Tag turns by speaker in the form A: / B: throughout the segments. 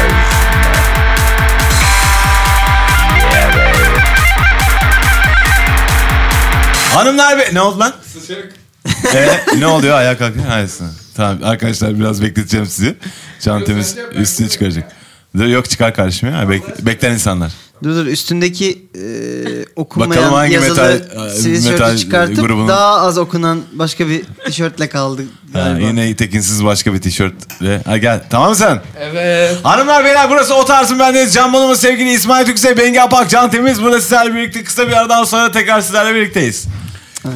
A: Otarz
B: Hanımlar be... Ne oldu lan? Ee, ne oluyor? Ayağa kalkıyor. Hayırsın. Tamam arkadaşlar biraz bekleteceğim sizi. Çantamız
C: Göstereceğim, ben
B: üstüne çıkaracak. Dur, yok çıkar karşıma ya. Bek- bekleyen insanlar.
D: Dur dur üstündeki e, okunmayan
B: Bakalım hangi
D: yazılı
B: metal- e,
D: sweatshirt'ü
B: metal
D: çıkartıp
B: grubunun-
D: daha az okunan başka bir tişörtle kaldı
B: Ha,
D: galiba.
B: yine tekinsiz başka bir tişörtle. Ha, gel. Tamam mı sen?
C: Evet.
B: Hanımlar beyler burası o tarzım bendeniz. Can Bonomo sevgili İsmail Türkse, Bengi Apak, Can Temiz. Burada sizlerle birlikte kısa bir aradan sonra tekrar sizlerle birlikteyiz.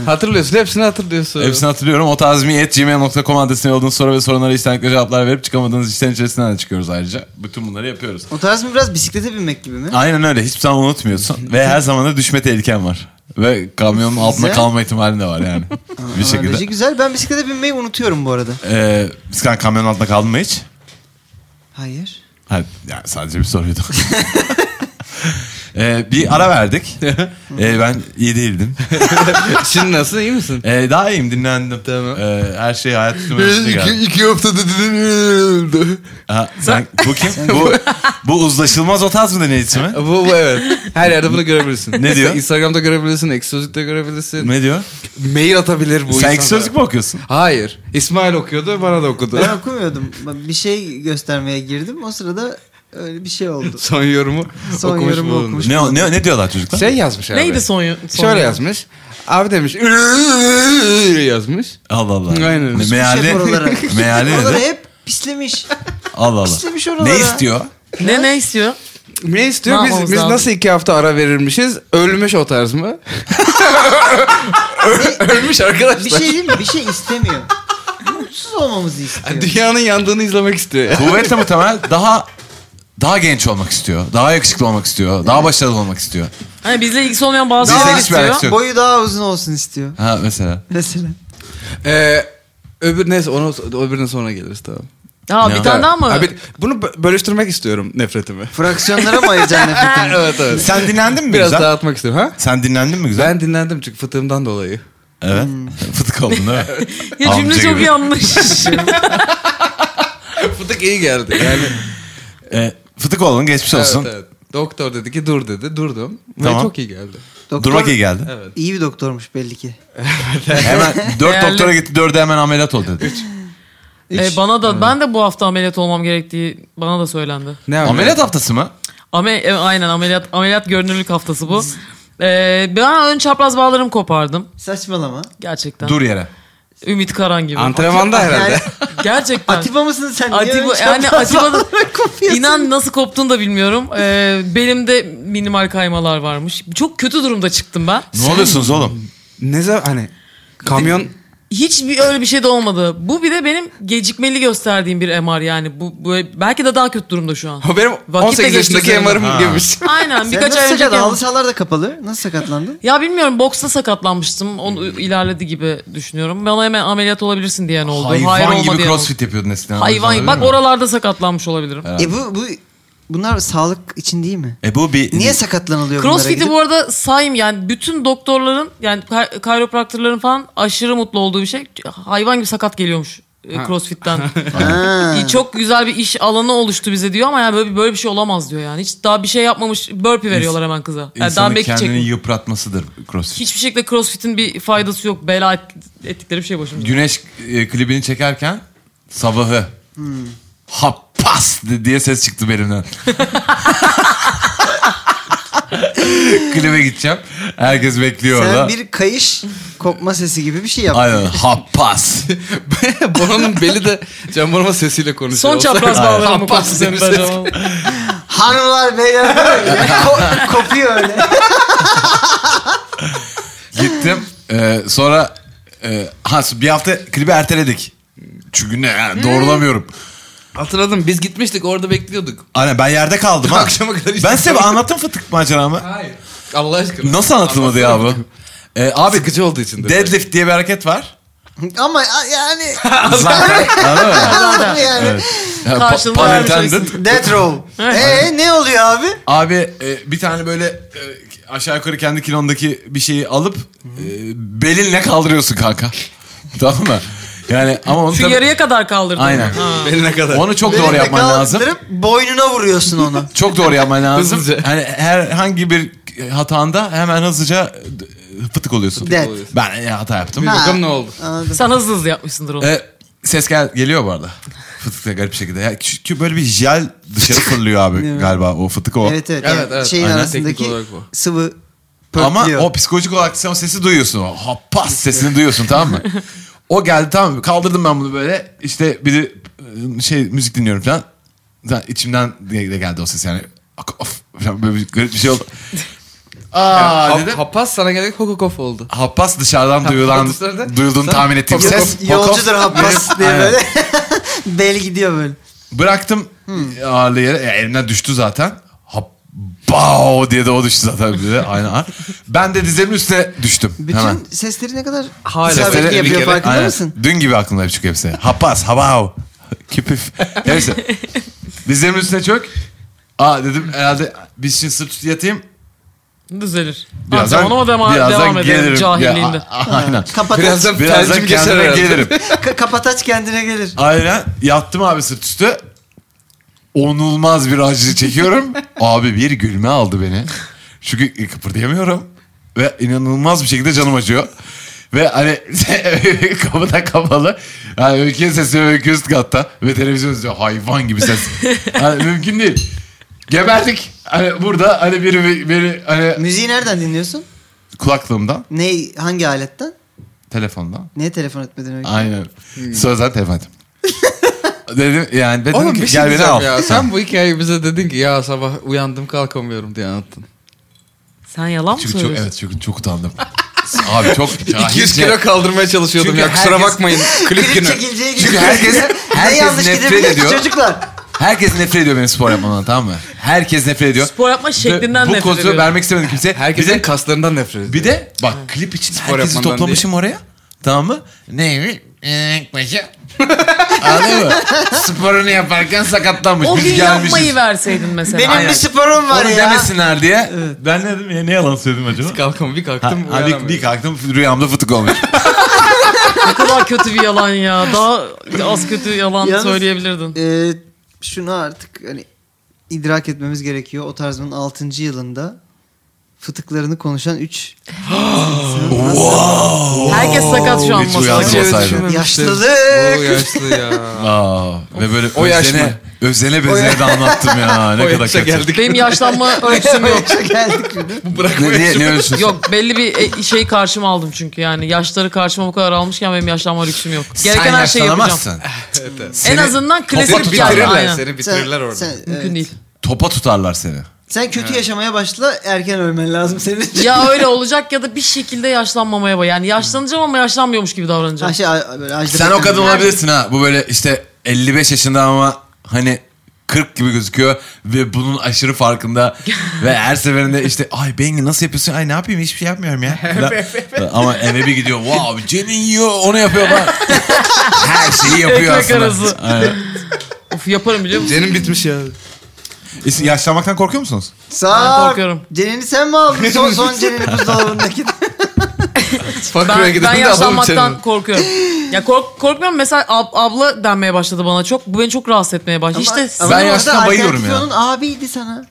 C: Hatırlıyorsun. Hepsini hatırlıyorsun.
B: Hepsini hatırlıyorum. O tarzmi.gmail.com adresine yolladığınız soru ve sorunlara içtenlikle cevaplar verip çıkamadığınız işlerin içerisinden de çıkıyoruz ayrıca. Bütün bunları yapıyoruz.
D: O tarz mı biraz bisiklete binmek gibi mi?
B: Aynen öyle. Hiçbir zaman unutmuyorsun. ve her zaman da düşme tehliken var. Ve kamyonun altında
D: Güzel.
B: kalma ihtimalin de var yani. bir şekilde.
D: Analoji güzel. Ben bisiklete binmeyi unutuyorum bu arada.
B: Ee, sen kamyonun altında kaldın mı hiç?
D: Hayır.
B: Hayır, yani sadece bir soruydu. Ee, bir ara verdik. Ee, ben iyi değildim.
C: Şimdi nasıl? iyi misin?
B: Ee, daha iyiyim dinlendim.
C: Tamam.
B: Ee, her şey hayat üstüme üstüne geldi.
C: haftada dinlenildi.
B: Ha, sen, bu kim? bu, bu uzlaşılmaz o tarz mı deney ismi?
C: Bu, bu evet. Her yerde bunu görebilirsin.
B: Ne diyor?
C: Instagram'da görebilirsin. Eksozit'te görebilirsin.
B: Ne diyor?
C: Mail atabilir bu
B: sen
C: insanlara.
B: iki sözlük mü okuyorsun?
C: Hayır. İsmail okuyordu. Bana da okudu.
D: Ben okumuyordum. Ben Bir şey göstermeye girdim. O sırada öyle bir şey oldu.
C: Son yorumu
D: Son
C: okumuş
D: yorumu
C: bulundum.
D: okumuş.
B: Ne, ne, ne diyorlar çocuklar?
C: Şey yazmış abi.
E: Neydi son, yo- son
C: Şöyle
E: yo-
C: yazmış. Abi demiş. yazmış.
B: Allah Allah.
C: Aynen.
B: Ne, meali,
D: Şey oraları.
B: meali
D: Oraları
B: nedir?
D: hep pislemiş.
B: Allah Allah.
D: Pislemiş oraları.
B: Ne istiyor?
E: Ne ne istiyor?
C: Ne istiyor?
E: Ne
C: biz,
E: yapmamız
C: biz
E: lazım?
C: nasıl iki hafta ara verirmişiz? Ölmüş o tarz mı? Öl- Ölmüş arkadaşlar.
D: Bir şey değil mi? Bir şey istemiyor. Mutsuz olmamızı
C: Yani
D: istiyor.
C: Dünyanın yandığını izlemek istiyor. ya.
B: Kuvvetle muhtemel daha daha genç olmak istiyor. Daha yakışıklı olmak istiyor. Daha başarılı olmak istiyor.
E: Hani bizle ilgisi olmayan bazı
B: Bizle
E: şeyler
B: hiçbir
E: istiyor.
B: alakası yok.
D: Boyu daha uzun olsun istiyor.
B: Ha mesela.
D: Mesela.
C: Ee, öbür neyse onu öbürüne sonra geliriz tamam.
E: Ha
B: Ne?
E: bir tane daha mı?
C: Ha, bir- bunu bö- bölüştürmek istiyorum nefretimi.
D: Fraksiyonlara mı ayıracaksın nefretini?
C: evet evet.
B: Sen dinlendin mi
C: Biraz
B: güzel?
C: dağıtmak istiyorum ha?
B: Sen dinlendin mi güzel?
C: Ben dinlendim çünkü fıtığımdan dolayı.
B: Evet. Hmm. Fıtık oldun değil mi?
E: ya cümle
B: Amca
E: çok
B: gibi.
E: yanlış.
C: Fıtık iyi geldi yani.
B: E, fıtık oldun geçmiş olsun.
C: evet, evet. Doktor dedi ki dur dedi. Durdum.
B: Tamam.
C: Ve çok iyi geldi.
D: Doktor
B: Durmak iyi geldi.
C: Evet.
D: iyi bir doktormuş belli ki.
B: Hemen dört
E: Değerli.
B: doktora gitti dörde hemen ameliyat ol dedi.
E: e, bana da ben de bu hafta ameliyat olmam gerektiği bana da söylendi.
C: Ne
B: ameliyat haftası mı?
E: Ame e, aynen ameliyat ameliyat görünürlük haftası bu. E, ben ön çapraz bağlarımı kopardım
D: Saçmalama.
E: gerçekten.
B: Dur yere.
E: Ümit Karan gibi.
B: E,
C: Antrenmanda herhalde.
E: gerçekten.
D: Atiba mısın sen? Niye
E: Atiba-
D: öyle
E: yani
D: çapraz
E: Atiba'da-
D: bağlarla kopuyorsun?
E: İnan nasıl koptuğunu da bilmiyorum. E, belimde minimal kaymalar varmış. Çok kötü durumda çıktım ben.
B: Ne oluyorsunuz oğlum?
C: ne zaman hani kamyon
E: Hiçbir öyle bir şey de olmadı. Bu bir de benim gecikmeli gösterdiğim bir MR yani. Bu, bu belki de daha kötü durumda şu an.
C: O benim
E: Vakitle
C: 18 yaşındaki
E: geçmiş
C: MR'ım
B: Ha.
C: gibiymiş.
E: Aynen
D: Sen
E: birkaç
D: nasıl
E: ay önce.
D: sakatlandın? Halı sahalar da kapalı. Nasıl sakatlandın?
E: Ya bilmiyorum boksta sakatlanmıştım. Onu ilerledi gibi düşünüyorum. Bana hemen ameliyat olabilirsin diyen oldu.
B: Hayvan
E: Hayır olma
B: gibi
E: diyen oldu.
B: crossfit yapıyordun eskiden.
E: Hayvan
B: Öyle
E: bak
B: mi?
E: oralarda sakatlanmış olabilirim.
D: E bu, bu bunlar sağlık için değil mi?
B: E bu bir...
D: Niye sakatlanılıyor bunlara
E: Crossfit'i
D: gidip?
E: bu arada sayayım yani bütün doktorların yani kay- kayropraktörlerin falan aşırı mutlu olduğu bir şey. Hayvan gibi sakat geliyormuş e, crossfit'ten.
D: Ha.
E: İyi, Çok güzel bir iş alanı oluştu bize diyor ama yani böyle, böyle bir şey olamaz diyor yani. Hiç daha bir şey yapmamış burpee veriyorlar hemen kıza. Yani
B: İnsanın
E: daha belki
B: kendini
E: çekmiyor.
B: yıpratmasıdır crossfit.
E: Hiçbir şekilde crossfit'in bir faydası yok. Bela et- ettikleri bir şey başımıza.
B: Güneş e, klibini çekerken sabahı Hmm. ha pas di- diye ses çıktı benimden. Klibe gideceğim. Herkes bekliyor orada.
D: Sen bir kayış kopma sesi gibi bir şey yaptın.
B: Aynen ha pas.
C: Bono'nun beli de Can Bonomo sesiyle konuşuyor.
E: Son çapraz
C: Olsa-
E: bağlarımı
C: Aynen.
E: koptu senin de acaba?
D: Hanımlar beyler Ko- kopuyor öyle.
B: Gittim. Ee, sonra e, ha, bir hafta klibi erteledik. Çünkü ne yani doğrulamıyorum.
C: Hatırladım biz gitmiştik orada bekliyorduk.
B: Aynen ben yerde kaldım ha.
C: Akşama kadar işte-
B: ben size anlattım fıtık maceramı.
C: Hayır. Allah aşkına.
B: Nasıl anlatılmadı ya bu? Ee, abi
C: Sıkıcı olduğu için. de.
B: deadlift diye bir hareket var.
D: Ama a- yani
B: Zaten. Anladın mı?
D: anladım yani.
B: Yani pa-
E: Karşılığında
B: pun
E: vermeyeceksin.
B: intended.
D: Death row. Ee ne oluyor abi?
B: Abi e, bir tane böyle e, aşağı yukarı kendi kilondaki bir şeyi alıp e, belinle kaldırıyorsun kanka. tamam mı? Yani ama onu
E: Şu
B: tabii-
E: yarıya kadar kaldırdım.
B: Aynen.
C: Beline kadar.
B: Onu çok
D: Benim
B: doğru
D: de
B: yapman lazım.
D: kaldırıp Boynuna vuruyorsun onu.
B: Çok doğru yapman lazım.
C: Hızlıca.
B: Hani herhangi bir hatanda hemen hızlıca d- fıtık oluyorsun.
D: Fıtık
C: oluyorsun.
B: Ben e, hata yaptım.
C: Bir bakalım ne oldu.
D: Anladım.
E: Sen hızlı hızlı yapmışsındır onu.
B: E, ses gel geliyor bu arada. Fıtıkta garip bir şekilde. Ya, çünkü böyle bir jel dışarı fırlıyor abi
D: Evet.
B: galiba o fıtık o.
D: Evet evet.
C: Evet,
D: yani
C: evet.
D: Şeyin
B: Aynen.
C: Teknik
D: arasındaki
C: olarak bu.
D: sıvı
B: Ama
D: pörtlüyor.
B: o psikolojik olarak sen o sesi duyuyorsun. O hoppas sesini duyuyorsun tamam mı? O geldi tamam mı? Kaldırdım ben bunu böyle. İşte bir de e, şey müzik dinliyorum falan. Zaten içimden de de geldi o ses yani. Ak- Of, falan böyle bir garip bir şey oldu. Aa
C: Ha-
B: dedim.
C: Hapas sana gelerek hokokof oldu.
B: Happas dışarıdan duyulan,
C: dışarıdan-
B: duyulduğunu
C: Sen-
B: tahmin ettiğim
C: Hokof-
B: ses.
D: Yolcudur
B: Hokof.
D: Habbas diye
B: Aynen.
D: böyle. Bel gidiyor böyle.
B: Bıraktım
D: Hmm.
B: ağırlığı yere. E, elimden düştü zaten. Hop. Bao diye de o düştü zaten bir de aynı an. Ben de dizlerimin üstüne düştüm.
D: Bütün
B: hemen.
D: sesleri ne kadar
C: Hala
D: isabetli
B: sesleri-
D: yapıyor
C: bir kere-
D: farkında
B: Aynen.
D: mısın?
B: Dün gibi aklımda hep çıkıyor hepsi. Hapas, habav, kipif. Neyse. Dizlerimin üstüne çök. Aa dedim herhalde bir için sırt üstü yatayım.
E: Düzelir. Antrenmanıma dema-
B: birazdan
E: devam edelim
B: gelirim.
E: cahilliğinde. şey
B: Ya, a- a- aynen.
D: Kapataç,
C: Birazdan- Felcim
B: Birazdan
C: geçer
B: kendime
C: herhalde.
B: gelirim.
D: Ka- kapataç kendine gelir.
B: Aynen. Yattım abi sırt üstü. Onulmaz bir acı çekiyorum. abi bir gülme aldı beni. Çünkü kıpırdayamıyorum. Ve inanılmaz bir şekilde canım acıyor. Ve hani kapı da kapalı. Yani öyküye sesi öykü üst katta. Ve televizyon izliyor. Hayvan gibi ses. Hani mümkün değil. Geberdik. Hani burada hani biri, biri hani
D: Müziği nereden dinliyorsun?
B: kulaklığımdan,
D: Ne hangi aletten?
B: telefondan.
D: Niye telefon etmedin öyle?
B: Aynen. Sonra zaten telefon ettim. dedim yani dedim
C: Hmm. Oğlum
B: ki
C: bir şey
B: gel beni
C: diyeceğim
B: al.
C: ya. Sen bu hikayeyi bize dedin ki ya sabah uyandım kalkamıyorum diye anlattın.
E: Sen yalan mı
B: Çünkü çok,
E: söylüyorsun?
B: evet çünkü çok utandım. Abi çok cahilce.
C: 200 kilo kaldırmaya çalışıyordum
B: Çünkü
C: ya kusura
B: herkes-
C: bakmayın. Klip
D: Klip
C: günü.
D: çekileceği gibi.
B: Çünkü herkes- herkes
D: ne yanlış
B: nefret
D: gidebilir ki
B: ediyor.
D: çocuklar?
B: Herkes nefret ediyor benim spor yapmamdan tamam mı? Herkes nefret ediyor.
E: Spor yapma şeklinden
B: Bu
E: nefret
B: kozu
E: ediyorum.
B: vermek istemedim kimseye.
C: Herkesin
B: bir de,
C: kaslarından nefret ediyor.
B: bir de bak klip için herkesi
C: yapmandan
B: toplamışım oraya. Tamam mı? Neymiş? Enek başı. Anladın mı? Sporunu yaparken sakatlanmış.
E: O
B: Biz
E: gün
B: gelmişiz.
E: yapmayı verseydin mesela.
D: Benim bir sporum var
B: Onu
D: ya.
B: demesinler diye. Ben ne dedim ya ne yalan söyledim acaba?
C: Kalkam bir
B: Ha,
C: kalktım
B: ha, bir,
C: uyanamıyorum.
B: bir kalktım rüyamda fıtık olmuş.
E: Ne kadar kötü bir yalan ya. Daha az kötü yalan
D: Yalnız-
E: söyleyebilirdin.
D: Ee, şunu artık hani idrak etmemiz gerekiyor. O tarzımın 6. yılında fıtıklarını konuşan 3
E: Herkes sakat şu an
B: Hiç
E: masada.
B: uyandım.
C: Hiç öyle
B: Olsaydı.
C: düşünmemiştim.
D: Yaşlılık.
C: O yaşlı ya.
B: Aa, ve böyle
C: O yaş
B: özene,
C: mı?
B: özene bezene de anlattım ya.
C: o
B: Ne kadar
C: yaşa
B: kötü.
C: geldik.
E: Benim yaşlanma ölçüsüm yok.
D: Yaşa geldik şimdi.
B: Ne, niye, niye ölçüyorsun?
E: Yok belli bir e- şey karşıma aldım çünkü yani yaşları karşıma bu kadar almışken benim yaşlanma lüksüm yok. Gereken
B: Sen
E: her şeyi yapacağım.
B: yaşlanamazsın.
E: En
B: Seni
E: azından
C: Seni
E: klasik bir yani.
C: bitirirler
E: Aynen.
C: seni bitirirler orada.
D: sen,
E: Mümkün
D: evet.
E: değil.
B: Topa tutarlar seni.
D: Sen kötü yaşamaya başla erken ölmen lazım senin için.
E: Ya öyle olacak ya da bir şekilde yaşlanmamaya bak. Yani yaşlanacağım ama yaşlanmıyormuş gibi
D: Ha,
E: davranacağım.
D: şey, a- böyle Ajda
B: Sen o
D: Pekkan
B: kadın
D: gibi.
B: olabilirsin ha. Bu böyle işte 55 yaşında ama hani 40 gibi gözüküyor ve bunun aşırı farkında ve her seferinde işte ay Bengi nasıl yapıyorsun? Ay ne yapayım hiçbir şey yapmıyorum ya. Falan. ama eve bir gidiyor. Wow Cenin yiyor onu yapıyor bak. her şeyi yapıyor
E: Ekmek
B: aslında.
E: arası.
B: Aynen.
E: Of yaparım biliyor musun?
C: Cenin bitmiş ya.
B: E, Yaşlanmaktan korkuyor musunuz?
D: Sağ
E: Ben
D: ol.
E: korkuyorum.
D: Cenini sen mi aldın? Son son cenini buzdolabındaki.
C: Fakir'e
E: Ben,
C: gidip de
E: ben
C: alalım
E: yaşlanmaktan
C: Cenin'i.
E: korkuyorum. Ya kork, korkmuyorum mesela ab- abla denmeye başladı bana çok. Bu beni çok rahatsız etmeye başladı. işte
B: ama- Ben yaştan bayılıyorum ya.
D: Onun abiydi sana.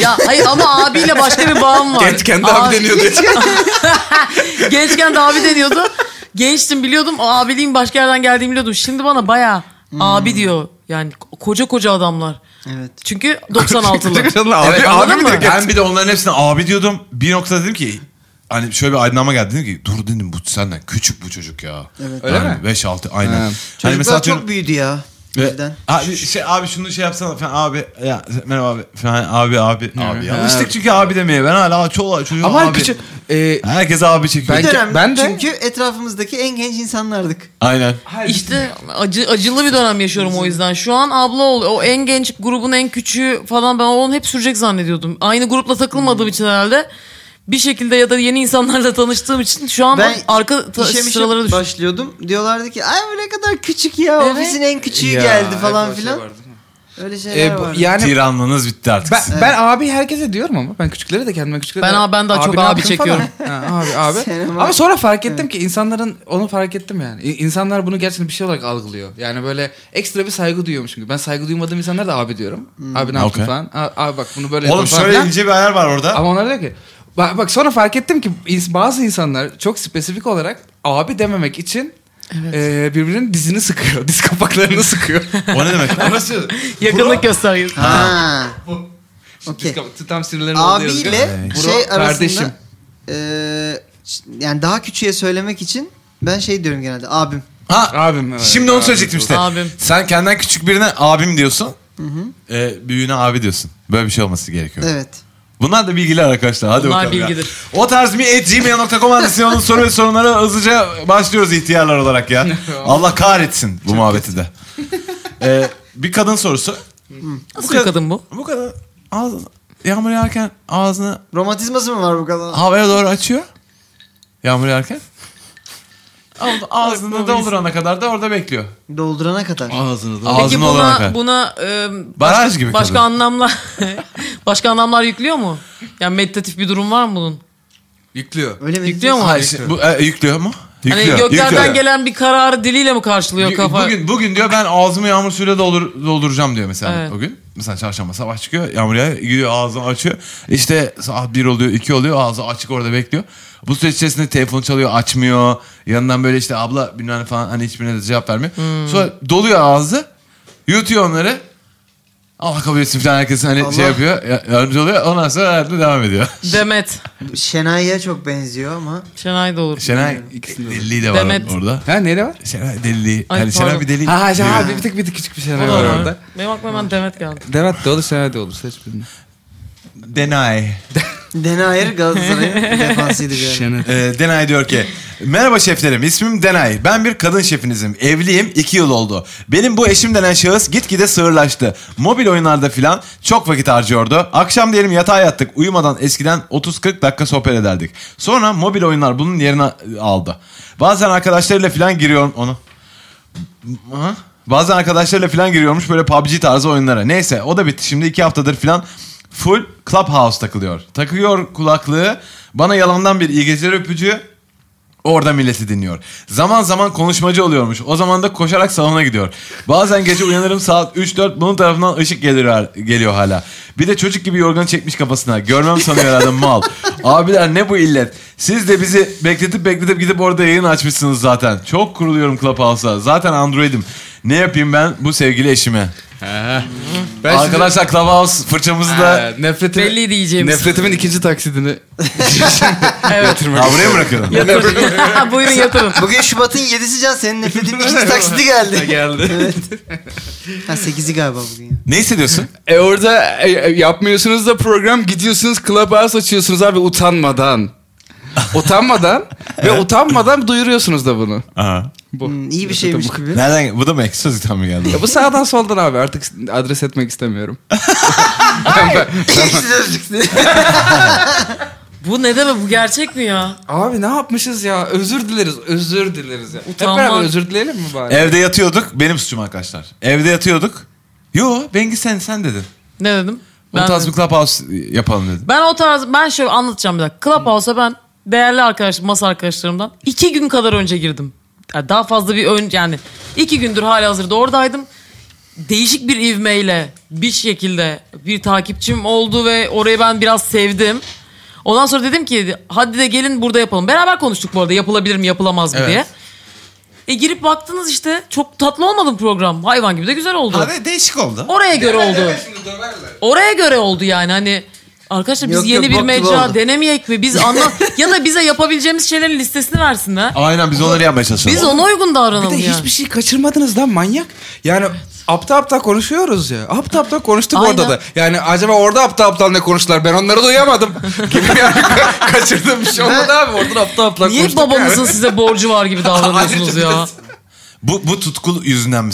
E: ya hayır ama abiyle başka bir bağım var.
C: Gençken de abi deniyordu.
E: Gençken de abi deniyordu. Gençtim biliyordum. O abiliğin başka yerden geldiğini biliyordum. Şimdi bana baya abi diyor. Yani koca koca adamlar.
D: Evet.
E: Çünkü 96'lı.
C: Abi,
B: Evet,
C: abi
E: anladın
C: mi
E: mı?
C: direkt?
B: Ben bir de onların hepsine abi diyordum. Bir noktada dedim ki hani şöyle bir aydınlanma geldi. Dedim ki dur dedim bu senden küçük bu çocuk ya.
D: Evet.
C: Öyle mi?
B: 5 6 aynen.
C: Ha.
B: Hani
D: Çocuklar
B: atıyorum-
D: çok büyüdü ya.
B: Ve-
D: Birden.
B: abi şey abi şunu şey yapsana falan abi ya merhaba abi falan abi abi abi.
C: Ha.
B: Yanlıştık çünkü abi demeye ben hala çoğu çocuğu
C: Ama
B: abi.
C: küçük. Ee,
B: Herkes abi çekiyor.
D: Bir dönem
C: Ben- de-
D: çünkü etrafımızdaki en genç insanlardık.
B: Aynen.
E: İşte acı, acılı bir dönem yaşıyorum o yüzden. Şu an abla ol, o en genç grubun en küçüğü falan ben onu hep sürecek zannediyordum. Aynı grupla takılmadığım için herhalde bir şekilde ya da yeni insanlarla tanıştığım için şu an
D: Ben
E: arka ta-
D: İşe mişe
E: sıralara düştüm.
D: başlıyordum. Diyorlardı ki ay bu ne kadar küçük ya.
E: Evet.
D: Ofisin en küçüğü
C: ya,
D: geldi
C: hep
D: falan
C: o şey
D: filan.
C: vardı.
D: Öyle şeyler
C: Ee, bu-
D: var.
C: yani
B: Tiranlığınız bitti artık.
C: ben,
B: sizin.
C: ben abi herkese diyorum ama ben küçüklere de kendime küçüklere
E: Ben
C: de,
E: abi- ben daha çok
C: ne
E: abi
C: yaptın?"
E: çekiyorum.
C: falan. ha, abi abi.
D: Senin var.
C: ama sonra fark ettim ki insanların onu fark ettim yani. İ- İnsanlar bunu gerçekten bir şey olarak algılıyor. Yani böyle ekstra bir saygı duyuyormuş çünkü. Ben saygı duymadığım insanlara da abi diyorum.
D: Hmm.
C: Abi ne yaptın
B: Okey.
C: falan. "A- Abi bak bunu böyle
B: Oğlum
C: yaptın falan
B: şöyle
C: filan."
B: ince bir ayar var orada.
C: Ama onlar diyor ki bak, bak sonra fark ettim ki ins- bazı insanlar çok spesifik olarak abi dememek için e, birbirinin dizini sıkıyor. Diz kapaklarını sıkıyor.
B: O ne demek?
C: Orası
E: Yakınlık göstergesi.
D: Ha.
C: Bu-
D: Okey.
C: Diz kapa- tam sinirlerini oluyor.
D: Abiyle
C: Bro,
D: şey arasında
C: kardeşim.
D: e, yani daha küçüğe söylemek için ben şey diyorum genelde abim.
B: Ha,
C: Abim, evet.
B: Şimdi onu
C: Abim
B: söyleyecektim
C: doğru.
B: işte.
E: Abim.
B: Sen kendinden küçük birine abim diyorsun. E, büyüğüne abi diyorsun. Böyle bir şey olması gerekiyor.
D: Evet.
B: Bunlar da bilgiler arkadaşlar. Hadi
E: Bunlar
B: bakalım ya.
E: bilgidir.
B: O tarz bir et gmail.com adresine onun soru ve sorunlara hızlıca başlıyoruz ihtiyarlar olarak ya. Allah kahretsin bu muhabbeti de. E, bir kadın sorusu.
E: Nasıl bir kadın bu?
B: Bu kadın ağzı, yağmur yağarken ağzını
D: Romatizması mı var bu kadar?
B: havaya doğru açıyor. Yağmur yağarken. Ağzını- Ağzını doldurana kadar da orada bekliyor.
D: Doldurana kadar.
C: Ağzını da.
E: Peki
B: Ağzını doldurana
E: buna,
B: kadar.
E: buna e,
B: Baraj
E: başka-
B: gibi
E: başka
B: kadın.
E: anlamlar başka anlamlar yüklüyor mu? Yani meditatif bir durum var mı bunun?
C: Yüklüyor.
D: Öyle mi?
E: Yüklüyor mu?
B: Hayır, şimdi bu, e, yüklüyor mu? Yüklüyor.
E: hani göklerden
B: yüklüyor.
E: gelen bir kararı diliyle mi karşılıyor
B: Yü-
E: kafa?
B: Bugün, bugün diyor ben ağzımı yağmur suyuyla doldur, dolduracağım diyor mesela
E: Evet.
B: o gün. Mesela çarşamba sabah çıkıyor yağmur yağıyor gidiyor ağzını açıyor. İşte saat 1 oluyor 2 oluyor ağzı açık orada bekliyor. Bu süreç içerisinde telefonu çalıyor açmıyor. Yanından böyle işte abla bilmem ne falan hani hiçbirine de cevap vermiyor.
E: Hmm.
B: Sonra doluyor ağzı yutuyor onları. Allah kabul etsin falan herkes hani
D: Allah.
B: şey yapıyor ya- yardımcı oluyor ondan sonra hayatına devam ediyor.
E: Demet.
D: Şenay'a çok benziyor ama.
E: Şenay da olur.
B: Şenay
C: İkisinde de.
B: deliliği de var
E: Demet.
B: orada.
C: Ha neyle var?
B: Şenay deliliği.
E: Ay,
B: yani Şenay
E: pardon.
B: bir deli.
C: Ha ha, ha bir tık bir tık küçük bir şeyler
E: O da
C: var
E: olur.
C: orada.
E: Benim aklıma hemen Demet geldi.
C: Demet de olur, Senet de olur. Seç birini.
B: Denay.
D: Denayer Galatasaray'ın defansıydı bir ara.
C: Senet.
B: Ee, Denay diyor ki Merhaba şeflerim ismim Denay. Ben bir kadın şefinizim. Evliyim 2 yıl oldu. Benim bu eşim denen şahıs gitgide sığırlaştı. Mobil oyunlarda filan çok vakit harcıyordu. Akşam diyelim yatağa yattık. Uyumadan eskiden 30-40 dakika sohbet ederdik. Sonra mobil oyunlar bunun yerini aldı. Bazen arkadaşlarıyla filan giriyorum onu. Aha. Bazen arkadaşlarıyla falan giriyormuş böyle PUBG tarzı oyunlara. Neyse o da bitti. Şimdi iki haftadır falan full Clubhouse takılıyor. Takıyor kulaklığı. Bana yalandan bir iyi geceler öpücüğü. Orada milleti dinliyor. Zaman zaman konuşmacı oluyormuş. O zaman da koşarak salona gidiyor. Bazen gece uyanırım saat 3-4 bunun tarafından ışık geliyor, geliyor hala. Bir de çocuk gibi yorganı çekmiş kafasına. Görmem sanıyor herhalde mal. Abiler ne bu illet. Siz de bizi bekletip bekletip gidip orada yayın açmışsınız zaten. Çok kuruluyorum Clubhouse'a. Zaten Android'im. Ne yapayım ben bu sevgili eşime?
C: Ben Arkadaş
B: Arkadaşlar Clubhouse fırçamızı da...
C: nefretimi,
E: Belli diyeceğimiz.
C: Nefretimin ikinci taksidini
E: Evet.
B: Ha, buraya mı bırakıyorum?
E: Yatırın. Buyurun yatırın.
D: Bugün Şubat'ın 7'si can senin nefretin ikinci taksidi geldi.
C: geldi.
D: Ha 8'i galiba bugün ya.
B: ne hissediyorsun?
C: E orada e, e, yapmıyorsunuz da program gidiyorsunuz Clubhouse açıyorsunuz abi utanmadan. Utanmadan ve utanmadan duyuruyorsunuz da bunu.
B: Aha.
C: Bu.
D: Hmm, iyi bir şeymiş
C: Nefretim-
D: gibi.
B: Nereden? Bu da mı? Ekşi Sözlük'ten mi geldi?
C: Ya bu sağdan soldan abi artık adres etmek istemiyorum.
D: Ekşi sözlükte.
E: Bu ne demek? Bu gerçek mi ya?
C: Abi ne yapmışız ya? Özür dileriz, özür dileriz ya.
E: Utanma.
C: Hep beraber özür dileyelim mi bari?
B: Evde yatıyorduk. Benim suçum arkadaşlar. Evde yatıyorduk. Yo Bengi sen sen dedin.
E: Ne dedim?
B: Ben o tarz
E: dedim.
B: bir clubhouse yapalım dedim.
E: Ben o tarz ben şöyle anlatacağım bir dakika. Clubhouse'a ben değerli arkadaşım, masa arkadaşlarımdan iki gün kadar önce girdim. Yani daha fazla bir ön yani iki gündür hali hazırda oradaydım. Değişik bir ivmeyle bir şekilde bir takipçim oldu ve orayı ben biraz sevdim. Ondan sonra dedim ki hadi de gelin burada yapalım. Beraber konuştuk bu arada yapılabilir mi yapılamaz mı
B: Evet.
E: diye. E girip baktınız işte çok tatlı olmadı mı program. Hayvan gibi de güzel oldu.
B: değişik oldu.
E: Oraya göre oldu. Oraya göre oldu yani hani arkadaşlar biz
D: Yok,
E: yeni
D: yok,
E: bir
D: bok gibi
E: mecra
D: oldu.
E: denemeyek mi? Biz anla ya da bize yapabileceğimiz şeylerin listesini versin ha.
B: Aynen biz onları yapmaya çalışalım.
E: Biz ona uygun
C: Bir
E: davranalım
C: de
E: yani.
C: hiçbir şey kaçırmadınız lan manyak. Yani apta apta konuşuyoruz ya. Apta apta konuştuk
E: Aynen.
C: orada da. Yani acaba orada apta aptal ne konuştular? Ben onları duyamadım. Gibi yani ka- kaçırdığım bir şey olmadı abi. Orada apta apta
E: Niye
C: konuştuk.
E: babanızın size borcu var gibi davranıyorsunuz
C: Ayrıca
E: ya?
B: Bu, bu tutku yüzünden mi